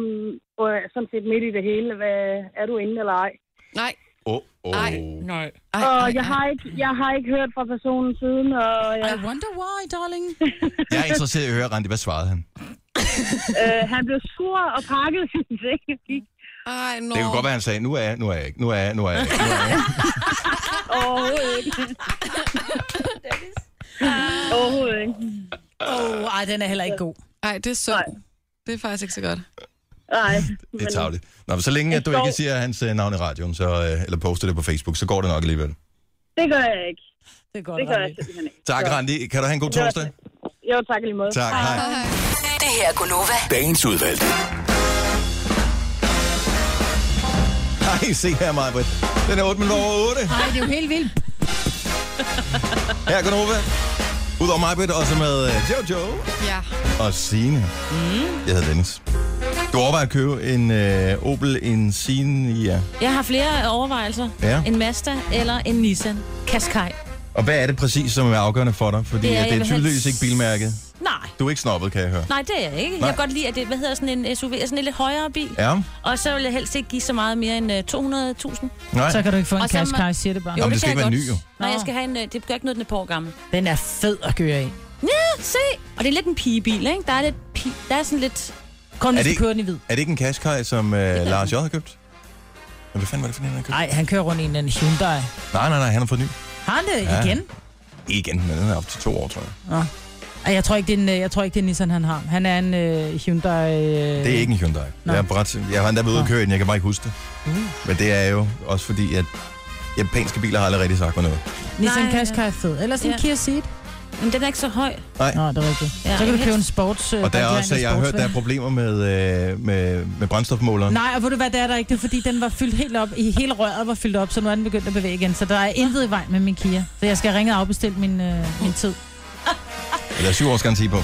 S10: og sådan set midt i det hele, hvad er du inde eller ej?
S4: nej,
S1: Åh, åh.
S4: Ej.
S2: Nej.
S4: ej,
S10: Og
S4: ej,
S10: jeg
S4: ej.
S10: har, ikke, jeg har ikke hørt fra personen siden, og jeg
S3: I wonder why, darling.
S1: Jeg er interesseret i at høre, Randi, hvad svarede han?
S10: Øh, han blev sur og pakkede sin ting. og gik.
S4: Ej, no.
S1: Det kunne godt være, han sagde, nu er jeg, nu er jeg ikke, nu er jeg, nu er jeg ikke. Nu er jeg ikke.
S10: Overhovedet ikke. Overhovedet ikke.
S3: Oh, ej, den er heller ikke god.
S4: Ej, det er synd. Det er faktisk ikke så godt.
S10: Nej.
S1: Det er tavligt. Nå, men så længe at du ikke siger hans øh, navn i radioen, så, øh, eller poster det på Facebook, så går det nok alligevel.
S10: Det gør jeg ikke.
S3: Det er godt.
S10: Det gør jeg simpelthen ikke.
S1: Tak, Randi. Kan du have en god torsdag?
S10: Jo, tak i lige måde.
S1: Tak, hej.
S6: Det her er Gunova.
S5: Dagens udvalgte.
S1: Hej, se her, Majbrit. Den er 8 minutter over 8.
S3: Nej, det er jo helt vildt.
S1: Her er Gunova. Udover Majbrit, også med øh, Jojo
S4: Ja.
S1: og Signe. Mm. Jeg hedder Dennis. Du overvejer at købe en øh, Opel, en Signe, ja.
S2: Jeg har flere overvejelser.
S1: Ja.
S2: En Mazda eller en Nissan Qashqai.
S1: Og hvad er det præcis, som er afgørende for dig? Fordi
S2: Det
S1: det
S2: er,
S1: er,
S2: jeg
S1: det er
S2: vil have-
S1: tydeligvis ikke bilmærket.
S2: Nej,
S1: Du er ikke snobbet, kan jeg høre.
S2: nej, det er jeg ikke.
S1: Nej.
S2: Nej. Jeg kan godt lide, at det hvad hedder sådan en SUV, sådan en lidt højere bil.
S1: Ja,
S2: Og så vil jeg helst ikke give så meget mere end øh, 200.000.
S1: nej.
S3: Så kan du ikke få en
S2: Og så er man-
S3: Qashqai, siger det bare.
S1: Jamen, det skal
S2: kan
S1: ikke
S2: jeg
S1: være
S2: godt.
S1: ny,
S2: Nej, jeg
S3: Nå.
S2: skal have en... øh, Det gør ikke noget, den er på år gammel.
S3: Den er fed at køre i.
S2: Ja, se! Og det er lidt en pigebil, ikke? Der er, lidt pi... der er sådan lidt...
S3: Kun
S1: Er
S3: hvis
S1: det
S3: du
S1: ikke-
S3: kører den i hvid.
S1: Er det ikke en Qashqai, som øh, Lars J. har købt? Jamen, Hvad fanden var det for en, han har købt?
S3: Nej, han kører rundt i en en Hyundai.
S1: Nej, nej, nej, han har fået ny.
S3: Har han det
S1: Ja.
S3: igen?
S1: Igen, men den er op til to år, tror jeg.
S3: Ej, Jeg tror, ikke, det er en, øh, jeg tror ikke, det er Nissan, han har. Han er en øh, Hyundai... Øh...
S1: Det er ikke en Hyundai.
S3: Nå.
S1: Jeg, er bræt, jeg har endda været ude at køre i den, jeg kan bare ikke huske det.
S2: Mm.
S1: Men det er jo også fordi, at japanske biler har aldrig rigtig sagt mig noget.
S3: Nissan
S2: Nej.
S3: Qashqai er fed. Eller sådan en
S2: Ja.
S3: Kia Ceed.
S2: Men den er ikke så høj.
S3: Nå, det er rigtigt.
S2: Ja,
S3: så kan du
S2: jeg
S3: købe en sports... Øh,
S1: Og der er
S3: Volkswagen
S1: også, jeg har hørt, der er
S3: sportsvan.
S1: problemer med, øh, med, med brændstofmåleren.
S3: Nej, og ved du hvad, det er der ikke. Det er fordi, den var fyldt helt op. I hele røret var fyldt op, så nu er den begyndt at bevæge igen. Så der er intet i vejen med min Kia. Så jeg skal ringe og afbestille min, øh, min tid.
S1: Der er syv års garanti på.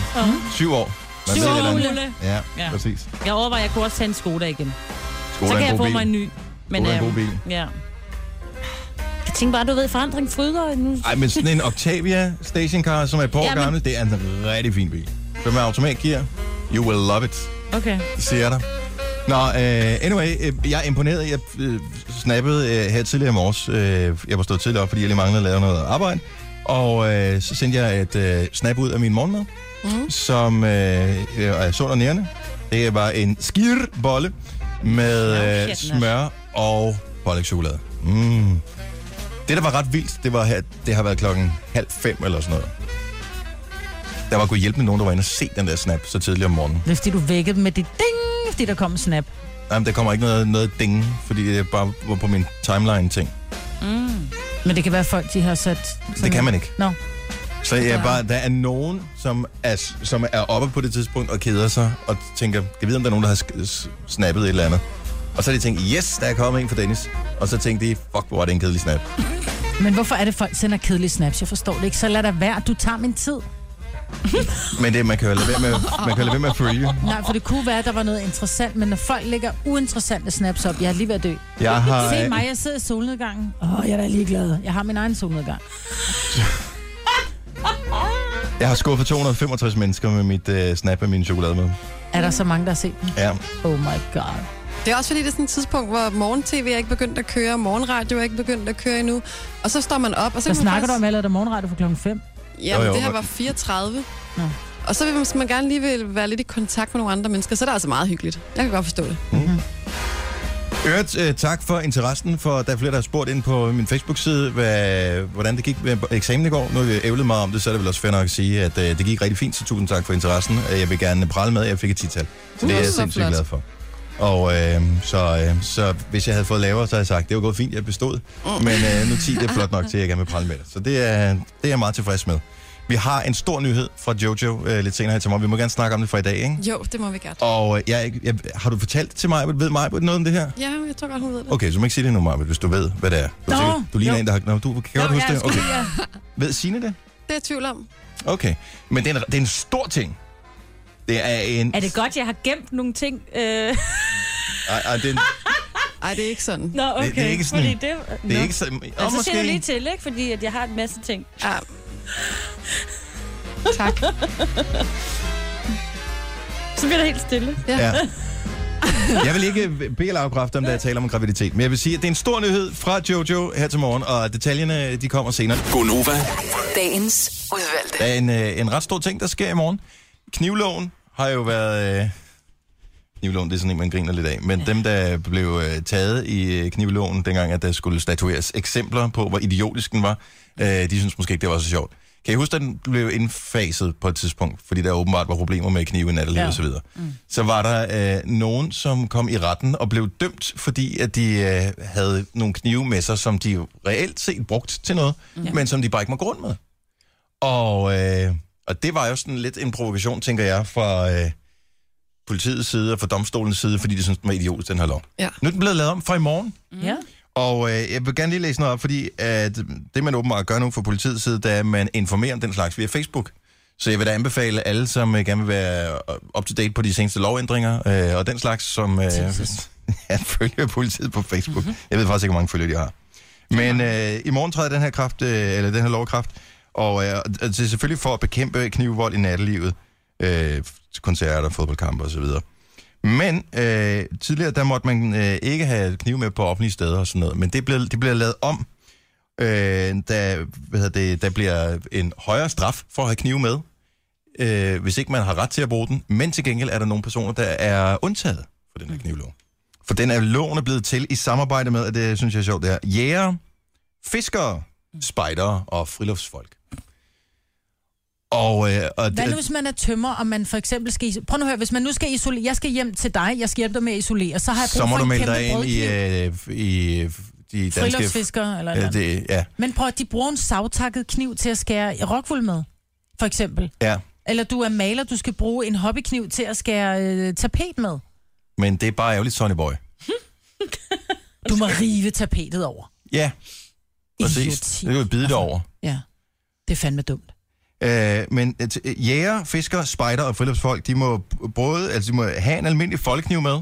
S1: Syv år. Man
S2: Syv
S1: ved
S2: år,
S1: et eller andet.
S2: Ole.
S1: Ja,
S2: Ja.
S1: præcis.
S2: Jeg overvejer, at jeg kunne også tage en Skoda igen.
S1: Skoda
S2: så kan
S1: er
S2: jeg
S1: en
S2: få
S1: god
S2: mig en
S1: bil.
S2: ny.
S1: Skoda er en
S2: øhm,
S1: god bil.
S2: Ja. Jeg tænker bare, du ved, forandring fryder nu.
S1: Ej, men sådan en Octavia stationcar, som er et par år
S2: Ja, men-
S1: gammel, det er en rigtig fin bil. Så med automatgear, you will love it,
S3: Okay.
S1: siger jeg dig. Nå, uh, anyway, øh, jeg er imponeret. Jeg øh, snappede øh, her tidligere i morges. Øh, jeg var stået tidligere op, fordi jeg lige manglede at lave noget arbejde. Og øh, så sendte jeg et øh, snap ud af min morgenmad, mm. som øh, øh, er sund og nærende. Det var en skirbolle med
S2: Nå,
S1: øh,
S2: shit,
S1: smør og pålægtschokolade. Mm. Det, der var ret vildt, det var, at det har været klokken halv fem eller sådan noget. Der var gået hjælp med nogen, der var inde og se den der snap så tidligt om morgenen.
S3: Det er fordi, du vækkede dem med dit ding, fordi der kom en snap.
S1: Jamen, der kommer ikke noget, noget ding, fordi det bare var på min timeline-ting.
S3: Men det kan være, folk de har sat... Sådan
S1: Det kan man ikke.
S3: Nå.
S1: Så jeg bare, der er nogen, som er, som er oppe på det tidspunkt og keder sig, og tænker, jeg ved, om der er nogen, der har sk- s- snappet et eller andet. Og så har de tænkt, yes, der er kommet en for Dennis. Og så tænkte de, fuck, hvor er det en kedelig snap.
S3: Men hvorfor er det, folk sender kedelige snaps? Jeg forstår det ikke. Så lad der være. Du tager min tid.
S1: Men det, man kan jo lade være med, man kan jo lade være med at freeze.
S3: Nej, for det kunne være, at der var noget interessant, men når folk lægger uinteressante snaps op, jeg er lige ved at dø.
S1: Jeg har...
S3: Se mig, jeg sidder i solnedgangen. Åh, oh, jeg er da ligeglad. Jeg har min egen solnedgang.
S1: Jeg har skuffet 265 mennesker med mit øh, snap af min chokolademad.
S3: Er der så mange, der har set den?
S1: Ja.
S3: Oh my god.
S4: Det er også fordi, det er sådan et tidspunkt, hvor morgen-tv er ikke begyndt at køre, morgenradio er ikke begyndt at køre endnu. Og så står man op, og så
S3: Hvad
S4: kan man
S3: snakker du om,
S4: faktisk...
S3: eller er der morgenradio for klokken 5?
S4: Jamen,
S1: Jo, jo,
S4: det her
S1: hvor-
S4: var 34.
S3: Nå.
S4: Og så vil hvis man gerne lige vil være lidt i kontakt med nogle andre mennesker, så er det altså meget hyggeligt. Jeg kan godt forstå det.
S1: Øret, øh, tak for interessen, for der er flere, der har spurgt ind på min Facebook-side, hvad, hvordan det gik med eksamen i går. Nu har vi ævlet meget om det, så er det vel også fair nok at sige, at øh, det gik rigtig fint, så tusind tak for interessen. Øh, Jeg vil gerne prale med, at jeg fik et tital. Så det er
S4: Uh,
S1: jeg
S4: så
S1: sindssygt
S4: flot.
S1: glad for. Og øh, så, øh, så hvis jeg havde fået lavere, så havde jeg sagt, det var gået fint, jeg bestod.
S4: Mm.
S1: Men øh, nu 10, det er flot nok til, at jeg gerne vil prale med det. Så det er, det er jeg meget tilfreds med. Vi har en stor nyhed fra Jojo øh, lidt senere her til morgen. Vi må gerne snakke om det fra i dag, ikke?
S4: Jo, det må vi gerne.
S1: Og øh, jeg, er ikke- jeg, har du fortalt til mig, ved mig noget om det her?
S4: Ja, jeg tror godt, hun ved det.
S1: Okay, så må jeg ikke sige det nu, Marvitt, hvis du ved, hvad det er. Du, er
S3: Nå,
S1: sikkert- du ligner
S3: jo.
S1: en, der har... Nå, du kan godt huske det? Okay.
S3: ja.
S1: Ved Signe det?
S4: Det er jeg i tvivl om.
S1: Okay. Men det er en, det er en stor ting. Det er en...
S2: Er det godt, jeg har gemt nogle ting? Øh...
S1: Ej, ej, det, er en,
S4: Nej, det er ikke sådan.
S2: Nå, okay.
S1: det er ikke sådan-
S2: Fordi det...
S1: det er
S2: Nå.
S1: ikke så... Og
S2: Og så
S1: måske...
S2: siger du lige til, ikke? Fordi at jeg har en masse ting.
S4: Ja. Tak.
S2: Så bliver det helt stille.
S3: Mm.
S1: Ja. Jeg vil ikke bede eller afkræfte, om der er tale om graviditet, men jeg vil sige, at det er en stor nyhed fra Jojo her til morgen, og detaljerne de kommer senere.
S5: Gonova.
S6: Dagens udvalgte.
S1: Der er en, øh, en ret stor ting, der sker i morgen. Knivloven har jo været... Øh, knivloven, det er sådan en, man griner lidt af. Men ja. dem, der blev øh, taget i øh, knivloven, dengang at der skulle statueres eksempler på, hvor idiotisk den var, øh, de synes måske ikke, det var så sjovt. Kan I huske, at den blev indfaset på et tidspunkt, fordi der åbenbart var problemer med knive i nattelivet ja.
S11: Ja.
S1: osv.? Mm. Så var der øh, nogen, som kom i retten og blev dømt, fordi at de øh, havde nogle knive med sig, som de reelt set brugt til noget, mm. men som de bare ikke må gå rundt med. Og, øh, og det var jo sådan lidt en provokation, tænker jeg, fra øh, politiets side og fra domstolens side, fordi de synes, den var idiotisk, den her lov.
S4: Ja.
S1: Nu er den blevet lavet om fra i morgen,
S3: Ja.
S1: og øh, jeg vil gerne lige læse noget op, fordi at det, man åbenbart gør nu fra politiets side, det er, at man informerer om den slags via Facebook. Så jeg vil da anbefale alle, som øh, gerne vil være up-to-date på de seneste lovændringer øh, og den slags, som øh, at følge politiet på Facebook. Mm-hmm. Jeg ved faktisk ikke, hvor mange følgere de har. Men øh, i morgen træder den her, kraft, øh, eller den her lovkraft, og øh, og det er selvfølgelig for at bekæmpe knivvold i nattelivet, øh, til koncerter, fodboldkampe osv. Men øh, tidligere, der måtte man øh, ikke have kniv med på offentlige steder og sådan noget, men det bliver, det bliver lavet om, øh, der, hvad hedder det, der bliver en højere straf for at have kniv med, øh, hvis ikke man har ret til at bruge den, men til gengæld er der nogle personer, der er undtaget for
S3: Mm.
S1: den her knivlov. For den er loven er blevet til i samarbejde med, og det synes jeg er sjovt, det her, jæger, fiskere,
S3: Mm.
S1: spejdere og friluftsfolk. Og, øh, og
S3: Hvad nu, hvis man er tømmer, og man for eksempel skal... Iso- Prøv nu at høre, hvis man nu skal isolere... Jeg skal hjem til dig, jeg skal hjælpe dig med at isolere, så har jeg brug
S1: så må
S3: for
S1: du
S3: en
S1: melde
S3: kæmpe
S1: dig ind i,
S3: brødkniv.
S1: øh, i øh, de danske...
S3: Friluftsfiskere eller
S1: øh,
S3: noget.
S1: det, ja.
S3: Men prøv at de bruger en savtakket kniv til at skære rockwool med, for eksempel.
S1: ja,
S3: Eller du er maler, du skal bruge en hobbykniv til at skære øh, tapet med.
S1: men det er bare ærgerligt, Sonny Boy.
S3: Du må rive tapetet over. Altså,
S1: Ja, præcis. Det kan jo bide det over.
S3: Ja, det er fandme dumt.
S1: Øh, men øh, t- øh, jæger, fiskere, spejder og friluftsfolk, de må b- både altså, de må have en almindelig folkekniv med,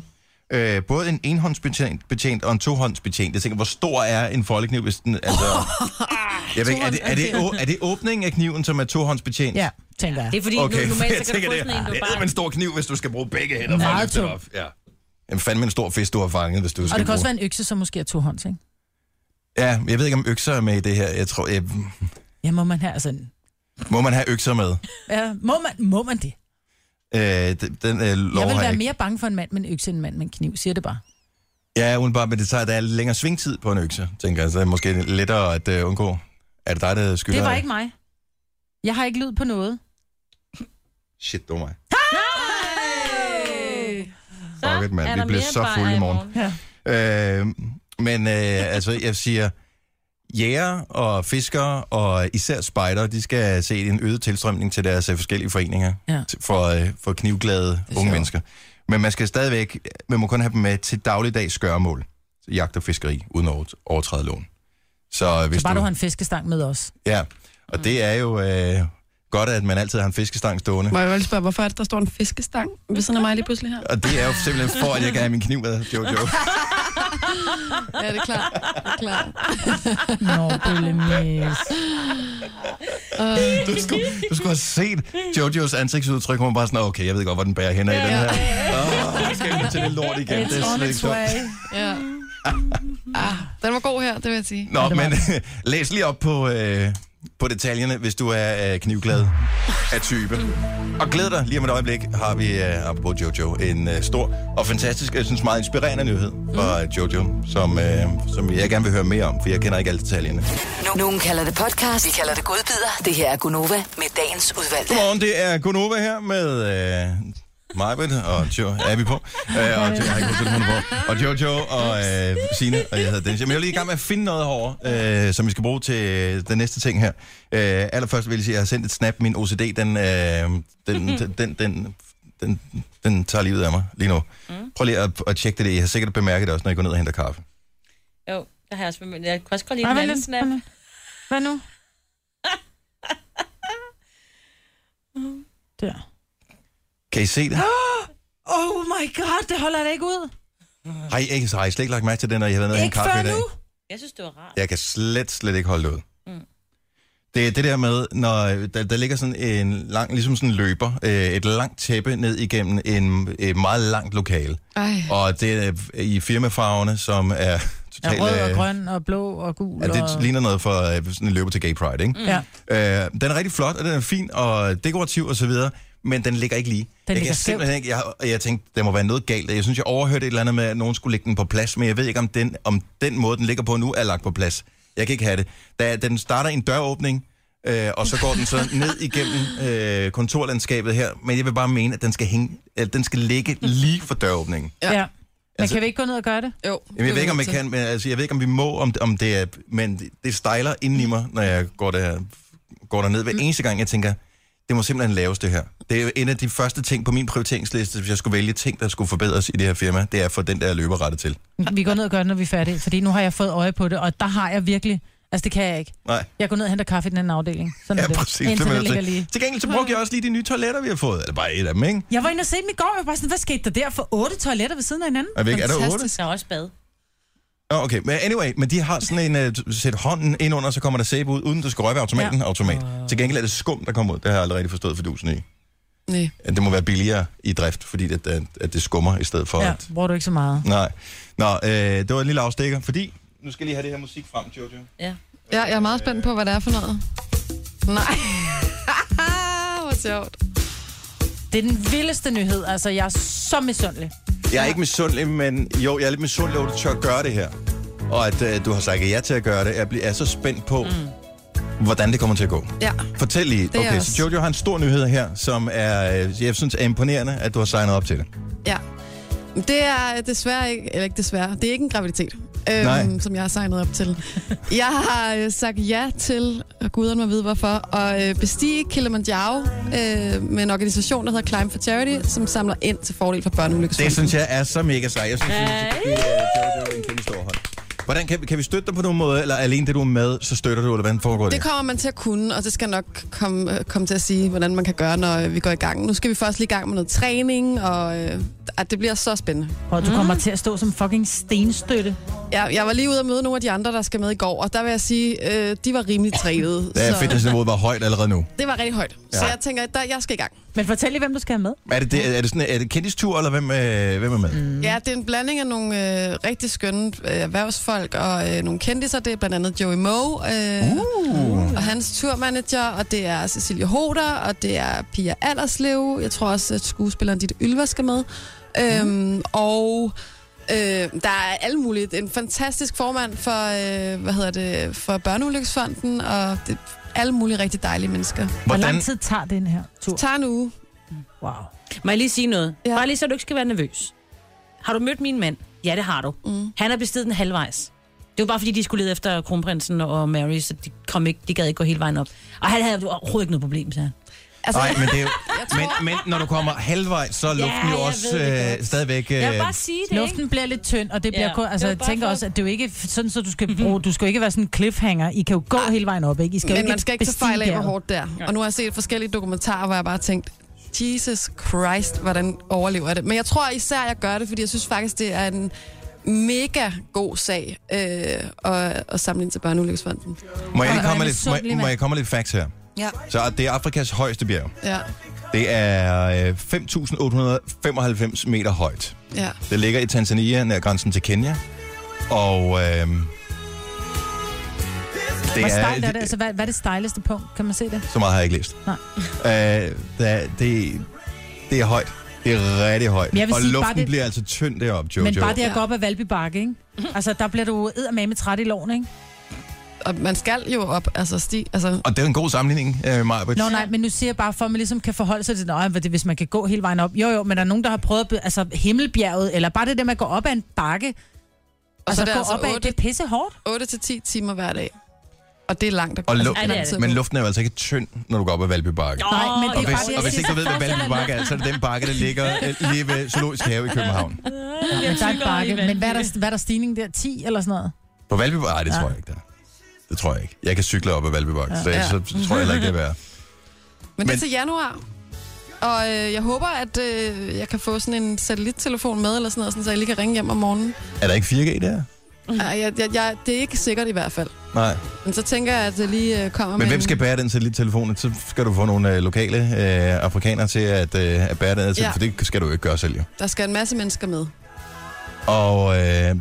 S1: øh, både en enhåndsbetjent betjent og en tohåndsbetjent. Jeg tænker, hvor stor er en folkekniv, hvis den... Altså, jeg ved, ikke, er, det, er, det, å- er det åbningen af kniven, som er tohåndsbetjent?
S3: Ja, tænker jeg.
S2: Det er fordi, okay. nu, normalt så kan du få sådan en, du
S1: det er
S2: bare...
S1: med en stor kniv, hvis du skal bruge begge hænder. for at
S3: Meget
S1: løfte den
S3: tung.
S1: op. Ja. Jamen fandme en stor fisk, du har fanget, hvis du skal
S3: Og det kan
S1: bruge.
S3: også være en økse, som måske er to hånds, ikke?
S1: Ja, jeg ved ikke, om økser er med i det her. Jeg tror, jeg...
S3: Ja, må man have altså en...
S1: Må man have økser med?
S3: Ja, må man, må man det?
S1: Øh, d- den øh, lov
S3: Jeg vil
S1: har
S3: være
S1: ikke.
S3: mere bange for en mand med en økse end en mand med en kniv, siger det bare.
S1: Ja, udenbart, men det tager, der er længere svingtid på en økse, tænker jeg. Så er det måske lettere at øh, undgå. Er det dig, der skylder?
S3: Det var ikke mig. Jeg har ikke lyd på noget.
S1: Shit, det var mig.
S2: Så
S1: Fuck it, mand.
S2: er
S1: Vi
S2: der
S1: bliver
S2: mere
S1: så
S2: bajer
S1: fulde i
S2: i
S1: morgen. Øh, men øh, altså, jeg siger, jæger og fiskere og især spejdere, de skal se en øget tilstrømning til deres øh, forskellige foreninger
S3: Ja.
S1: t- for, øh, for knivglade unge mennesker. Men man skal stadigvæk, man må kun have dem med til dagligdags gøremål. Så Jagt og fiskeri, uden at overtræde loven. Så, øh, hvis
S3: Så bare du har en fiskestang med os.
S1: Ja, og det er jo øh, godt, at man altid har en fiskestang stående.
S4: Må jeg jo lige spørge, hvorfor er det, der står en fiskestang ved siden af mig lige pludselig her?
S1: Og det er jo simpelthen for, at jeg kan have min kniv med, Jojo.
S4: Ja, det er klart. Det er klart.
S3: Nå, bøllemis.
S1: Du skulle, du skulle have set Jojos ansigtsudtryk, hvor hun bare sådan, okay, jeg ved godt, hvor den bærer hen af i den her. Åh, nu skal jeg til det lort igen. det er
S4: It's on
S1: slet ikke
S4: its
S1: sjovt.
S4: way. Ja. Ah, den var god her, det vil jeg sige.
S1: Nå, men læs lige op på, øh, på detaljerne, hvis du er øh, knivglad af typen. Og glæd dig, lige om et øjeblik har vi, øh, apropos Jojo, en øh, stor og fantastisk, jeg synes meget inspirerende nyhed fra mm. Jojo, som, øh, som jeg gerne vil høre mere om, for jeg kender ikke alle detaljerne.
S6: Nu- Nogen kalder det podcast, vi kalder det godbider. Det her er Gunova med dagens udvalgte.
S1: Godmorgen, det er Gunova her med øh, Majbrit og jo, Abby på. Øh, og, jo, jeg har ikke fået telefonen på. og Jojo og øh, Signe, og jeg hedder Dennis. Men jeg er lige i gang med at finde noget herovre, øh, som vi skal bruge til øh, den næste ting her. Øh, allerførst vil jeg sige, at jeg har sendt et snap. Min OCD, den, øh, den, den, den, den, den, den tager livet af mig lige nu.
S3: Mm.
S1: Prøv lige at, at tjekke det. I har sikkert bemærket det også, når I går ned og henter kaffe.
S2: Jo, der har jeg også... Men jeg kan også godt lide
S3: Ej,
S2: den
S3: vent
S2: anden
S3: lidt,
S2: snap.
S3: Hvad nu? Der.
S1: Kan I se det?
S3: Oh my god, det holder jeg da ikke ud.
S1: Har I, ikke, har I slet ikke lagt mærke til det, når I har været nede og
S3: Ikke
S1: hentet kaffe
S3: før
S1: i dag?
S3: nu.
S2: Jeg synes, det var rart.
S1: Jeg kan slet, slet ikke holde det ud. Mm. Det er det der med, når øh, der, der ligger sådan en lang, ligesom sådan en løber, øh, et langt tæppe ned igennem en, et meget langt lokale.
S4: Ej.
S1: Og det er øh, i firmafarverne, som er
S3: Ja,
S1: totalt...
S3: rød
S1: øh,
S3: og grøn og blå og gul.
S1: Ja,
S3: og...
S1: det ligner noget for øh, sådan en løber til Gay Pride, ikke?
S3: Ja.
S1: Øh, den er rigtig flot, og den er fin og dekorativ og så videre, men den ligger ikke lige. Den jeg
S3: ligger
S1: kan simpelthen ikke, jeg, og jeg tænkte, der må være noget galt. Jeg synes, jeg overhørte et eller andet med, at nogen skulle lægge den på plads, men jeg ved ikke, om den, om den måde, den ligger på nu, er lagt på plads. Jeg kan ikke have det. Da den starter i en døråbning, øh, og så går den så ned igennem øh, kontorlandskabet her. Men jeg vil bare mene, at den skal, hænge, at den skal ligge lige for døråbningen.
S3: Ja. ja. Men
S1: Altså-
S3: kan vi ikke gå ned og gøre det?
S4: Jo.
S1: Jamen, jeg ved ikke, om jeg kan, men altså, jeg ved ikke, om vi må, om, om det er, men det- det stejler inden i mig, når jeg går, der, går derned.
S3: Mm.
S1: Hver eneste gang, jeg tænker, det må simpelthen laves det her. Det er jo en af de første ting på min prioriteringsliste, hvis jeg skulle vælge ting, der skulle forbedres i det her firma, det er for den, der løber rettet til.
S3: Vi går ned og gør det, når vi er færdige, fordi nu har jeg fået øje på det, og der har jeg virkelig... Altså, det kan jeg ikke.
S1: Nej.
S3: Jeg går ned og henter kaffe i den anden afdeling. Sådan er
S1: Ja,
S3: det.
S1: præcis.
S3: Indtil
S1: det er
S3: det
S1: man nødt
S3: ligger
S1: til.
S3: lige.
S1: Til gengæld så brugte jeg også lige de nye toiletter, vi har fået. Eller bare et af dem, ikke?
S3: Jeg var inde og se dem i går, og jeg var bare sådan, hvad skete der der? For otte toiletter ved siden af hinanden?
S1: Er vi ikke- er der otte?
S2: Der er også bad.
S1: Oh, okay, men anyway, men de har sådan en, uh, sæt hånden ind under, så kommer der sæbe ud, uden du skal røre ved automaten, ja. automat. Til gengæld er det skum, der kommer ud. Det har jeg aldrig rigtig forstået fidusen i.
S4: Nej.
S1: At det må være billigere i drift, fordi det, at, at det skummer i stedet for... Ja.
S3: Ja,
S1: At,
S3: bruger du ikke så meget.
S1: nej. Nå, øh, det var en lille afstikker, fordi... Nu skal jeg lige have det her musik frem, Jojo.
S2: Ja.
S4: Ja, jeg er meget spændt på, hvad det er for noget. Nej. Hvor sjovt.
S3: Det er den vildeste nyhed, altså jeg er så misundelig.
S1: Jeg er ikke misundelig, men jo, jeg er lidt misundelig over, at du tør at gøre det her. Og at øh, du har sagt ja til at gøre det. Jeg bliver- er så spændt på, mm. hvordan det kommer til at gå.
S4: Ja.
S1: Fortæl lige.
S4: Det er
S1: Okay,
S4: også-
S1: så Jojo har en stor nyhed her, som er, øh, jeg synes er imponerende, at du har signet op til det.
S4: Ja. Det er desværre ikke, eller ikke desværre, det er ikke en graviditet,
S1: Nej.
S4: øhm, som jeg har signet op til. Jeg har øh, sagt ja til, og guderne må vide hvorfor, at øh, bestige Kilimanjaro øh, med en organisation, der hedder Climb for Charity, som samler ind til fordel for
S1: Det
S4: børneulykkesfonden.
S1: synes jeg er så mega sej. Jeg synes, hey. at det er Jojo en kæmpe stor hånd. Hvordan kan, vi- kan vi støtte dig på nogen måde, eller alene det, du er med, så støtter du, eller hvordan foregår det?
S4: Det kommer man til at kunne, og det skal jeg nok komme, øh, komme til at sige, hvordan man kan gøre, når øh, vi går i gang. Nu skal vi først lige i gang med noget træning, og øh, at det bliver så spændende.
S3: Og du kommer til at stå som fucking stenstøtte.
S4: Jeg, jeg var lige ude og møde nogle af de andre, der skal med i går, og der vil jeg sige, øh, de var rimelig trænet.
S1: Da
S4: så-
S1: fitnessniveauet var højt allerede nu.
S4: Det var rigtig højt. Ja. Så
S1: Ja.
S4: jeg tænker, at der, jeg skal i gang.
S3: Men fortæl lige, hvem du skal have med.
S1: Er det, det, er det, sådan, er det kendistur, eller hvem, øh, hvem er med? Mm.
S4: Mm. Ja, det er en blanding af nogle øh, rigtig skønne øh, erhvervsfolk og øh, nogle kendiser. Det er blandt andet Joey Moe øh, uh. og hans turmanager, og det er Cecilie Hoder, og det er Pia Allerslev. Jeg tror også, at skuespilleren Ditte Ylva skal med. Mm. Øhm, og øh, der er alle mulige. En fantastisk formand for, øh, hvad hedder det, for Børneulykkesfonden, og det, alle mulige rigtig dejlige mennesker.
S3: Hvor
S1: Hvordan,
S3: lang tid tager den her tur?
S4: Det tager en uge.
S3: Wow.
S2: Må jeg lige sige noget?
S4: Ja.
S2: Ja. Bare lige så du ikke skal være nervøs. Har du mødt min mand? Ja, det har du. Mm. Han er bestiget den halvvejs. Det var bare fordi, de skulle lede efter kronprinsen og Mary, så de, kom ikke, de gad ikke gå hele vejen op. Og han havde overhovedet ikke noget problem, sagde han.
S4: Altså,
S1: Nej, men, det er jo,
S4: tror-
S1: men, men når du kommer halvvejs, så er luften
S2: Ja,
S1: jo
S2: jeg
S1: også
S2: ved det
S1: øh,
S2: godt.
S1: stadigvæk... Øh,
S2: Jeg vil bare sige det, ikke?
S3: Luften bliver lidt tynd, og det bliver
S2: Ja.
S3: kun... Altså,
S2: Det var
S3: jeg
S2: bare
S3: tænker
S2: for-
S3: også, at det er jo ikke f- sådan, så du skal bruge... Du skal jo ikke være sådan en cliffhanger. I kan jo gå hele vejen op, ikke? I skal jo
S4: Mhm. Men man skal ikke tage
S3: bestige
S4: fejl af, hvor
S3: bjerget.
S4: hårdt det er. Og nu har jeg set forskellige dokumentarer, hvor jeg bare har tænkt, Jesus Christ, hvordan overlever jeg det? Men jeg tror især, jeg gør det, fordi jeg synes faktisk, det er en mega god sag øh, at, at samle ind til Børneulykkesfonden.
S1: Må jeg, lige
S3: Hvor er
S1: komme
S3: det
S1: lidt, må, jeg-
S3: sundt,
S1: må jeg komme lidt facts her?
S4: Ja.
S1: Så det er Afrikas højeste bjerg.
S4: Ja,
S1: Det er øh, 5.895 meter højt.
S4: ja.
S1: Det ligger i Tanzania, nær grænsen til Kenya. Og... Øh, det
S3: Hvor stejlt er det? Altså, hvad, hvad er det stejleste punkt? Kan man se det?
S1: Så meget har jeg ikke læst.
S3: Nej.
S1: Øh, der, det, det er højt. Det er rigtig højt.
S3: Men jeg vil
S1: Og
S3: sige, bare
S1: luften
S3: det-
S1: bliver altså tynd deroppe, Jojo.
S3: Men bare det at
S4: Ja. Mhm.
S3: gå op ad Valby Bakke, ikke? Altså, der bliver du eddermame træt i loven, ikke?
S4: Og man skal jo op, altså sti, altså...
S1: Og det er en god sammenligning, øh, Maja.
S3: Nå nej, men nu siger jeg bare, for at man ligesom kan forholde sig til, nej, det, hvis man kan gå hele vejen op. Jo jo, men der er nogen, der har prøvet at be- altså, himmelbjerget, eller bare det der med at gå op ad en bakke.
S4: Og
S3: Altså,
S4: så er
S3: altså
S4: det
S3: gå altså op ad, det er pisse hårdt.
S4: altså 8-10 timer hver dag. Og det er langt at
S1: Og
S4: altså,
S1: lu-
S4: det er lang tid at
S1: Men
S4: gå.
S1: luften er jo altså ikke tynd, når du går op ad Valby Bakke.
S2: Nå,
S3: Nej, men
S1: Og
S3: det er
S1: hvis,
S3: bare det, jeg
S1: og hvis
S3: siger.
S1: ikke du ved, hvad Valby Bakke er, så er det den bakke, der ligger øh, lige ved Zoologisk Have i København.
S3: Men der er en bakke, men hvad er, der, hvad er der stigning der? 10 eller sådan noget?
S1: På Valby Bakke? Nej, det tror jeg ikke, der er. Det tror jeg ikke. Jeg kan cykle op ad Valby Bakke, så,
S4: Ja.
S1: så, så tror jeg heller ikke, det er værd.
S4: Men det er
S1: Men-
S4: til januar. Og øh, jeg håber, at øh, jeg kan få sådan en satellittelefon med, eller sådan noget, sådan, så jeg lige kan ringe hjem om morgenen.
S1: Er der ikke 4G der? Mm.
S4: Ej, jeg, jeg, jeg, det er ikke sikkert i hvert fald.
S1: Nej.
S4: Men så tænker jeg, at jeg lige øh, kommer
S1: Men
S4: med
S1: hvem
S4: en-
S1: skal bære den satellittelefon? Så skal du få nogle øh, lokale øh, afrikanere til at, øh, at bære den her til,
S4: Ja.
S1: for det skal du jo ikke gøre selv, jo.
S4: Der skal en masse mennesker med.
S1: Og øh,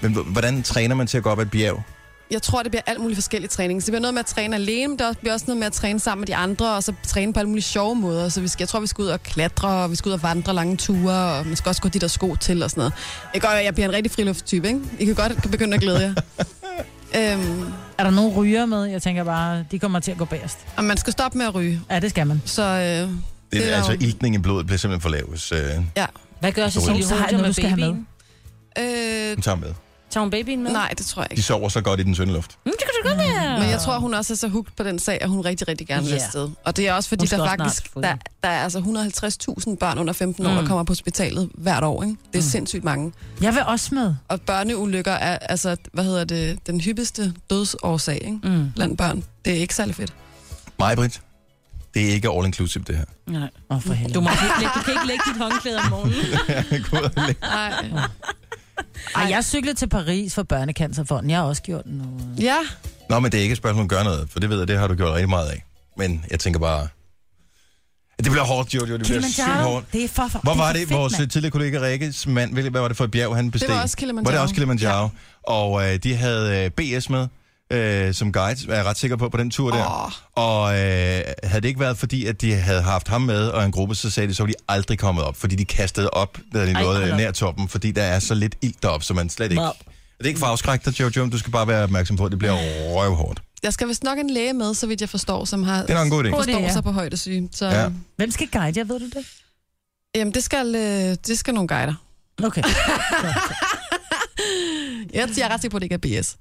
S1: men h- hvordan træner man til at gå op ad et bjerg?
S4: Jeg tror, det bliver alt muligt forskellige træning. Så det bliver noget med at træne alene, men det bliver også noget med at træne sammen med de andre, og så træne på alle mulige sjove måder. Så vi skal, jeg tror, vi skal ud og klatre, og vi skal ud og vandre lange ture, og man skal også gå de der sko til og sådan noget. Jeg, gør, jeg bliver en rigtig friluftstype, ikke? I kan godt begynde at glæde jer. Øhm,
S3: er der nogen ryger med? Jeg tænker bare, de kommer til at gå bagerst.
S4: Og man skal stoppe med at ryge.
S3: Ja, det skal man.
S4: Så, øh,
S1: Det, det er altså iltning i blodet bliver simpelthen for lav, hvis øh,
S4: Ja.
S2: Hvad gør
S1: Cecilie
S3: Så har jeg noget, du skal have med.
S4: Øh,
S1: den tager med.
S2: tager hun babyen med?
S4: nej, det tror jeg
S1: Mm. De
S4: ikke.
S1: sover så godt i den tynde luft.
S2: Mm, det kan du godt være.
S4: Men jeg tror, hun også er så hugt på den sag, at hun rigtig, rigtig gerne vil
S2: Ja.
S4: afsted. Og det er også,
S2: Hun
S4: fordi
S2: skal
S4: der
S2: også snart Mm.
S4: faktisk
S2: få
S4: der,
S2: det.
S4: der er altså 150.000 børn under 15 år, der kommer på hospitalet hvert år. Ikke?
S2: Mm.
S4: Det er sindssygt mange.
S3: Jeg vil også med.
S4: Og børneulykker er altså, hvad hedder det, den hyppigste dødsårsag ikke? Mm. blandt børn. Det er ikke særlig fedt.
S1: Mig, Britt, det er ikke all inclusive, det her.
S2: Nej.
S3: Åh, for helvede.
S2: Du, må ikke lægge, du kan ikke lægge dit håndklæde om morgenen.
S1: Gå ud og læg-
S4: Nej.
S3: Ej, jeg cyklede til Paris for Børnecancerfonden. Jeg har også gjort noget.
S4: Ja,
S1: Nå, men det er ikke et spørgsmål om at gøre noget, for det ved jeg, det har du gjort rigtig meget af. Men jeg tænker bare... Det bliver hårdt, Jojo. Det bliver sygt
S3: Kilimanjaro,
S1: hårdt.
S3: det er for, for
S1: Hvor var
S3: for
S1: det,
S3: fedt,
S1: vores
S3: mand.
S1: tidligere kollega Rikkes mand, hvil- hvad var det for et bjerg, han besteg?
S4: også Kilimanjaro.
S1: Var det også Kilimanjaro? Ja. Og øh, de havde øh, BS med øh, som guide, er jeg ret sikker på, på den tur der. Og øh, havde det ikke været fordi, at de havde haft ham med og en gruppe, så sagde de, så var de aldrig kommet op, fordi de kastede op, da de
S2: Ej,
S1: nåede
S2: hold
S1: øh,
S2: op.
S1: nær toppen, fordi der er så lidt ild deroppe, så man slet ikke...
S2: Nå.
S1: Det er ikke for afskrækt dig, Jojo, men du skal bare være opmærksom på, at det bliver røvhårdt.
S4: jeg skal vist nok en læge med, så vidt jeg forstår, som har
S1: Det er nok en god idé.
S3: God idé,
S4: forstår
S3: ja.
S4: sig på højdesyge. Så,
S1: Ja.
S4: ja.
S3: Hvem skal guide jer, ved du det?
S4: Jamen, det skal, øh, det skal nogle guider.
S3: Okay.
S4: Jeg, jeg er ret sikker på, at det ikke er BS.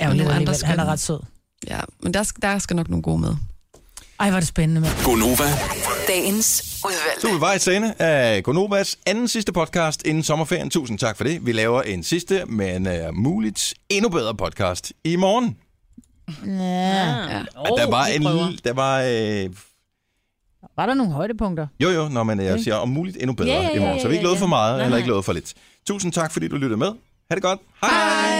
S3: Ærgerligt,
S4: nogle andre
S3: alligevel. han er
S4: skønne.
S3: ret sød.
S4: Ja, men der, skal- der skal nok nogle gode med.
S3: Ej, hvor er det spændende, mand.
S5: Gonova,
S6: Dagens
S1: Du
S6: udvalgte.
S1: er vej sende af Gonovas anden sidste podcast inden sommerferien. Tusind tak for det. Vi laver en sidste, men uh, muligt endnu bedre podcast i morgen.
S2: Ah.
S4: Ja.
S1: Oh, der var en lille, der var, øh,
S3: Var der nogle højdepunkter?
S1: jo jo, når man jeg siger om muligt endnu bedre
S2: Ja, ja,
S1: i
S2: ja,
S1: morgen. Så vi har
S2: ja,
S1: ikke lovet
S2: ja.
S1: for meget,
S2: Nej,
S1: eller ikke
S2: nej.
S1: lovet for lidt. Tusind tak, fordi du lyttede med. Ha' det godt. Hej. Hej.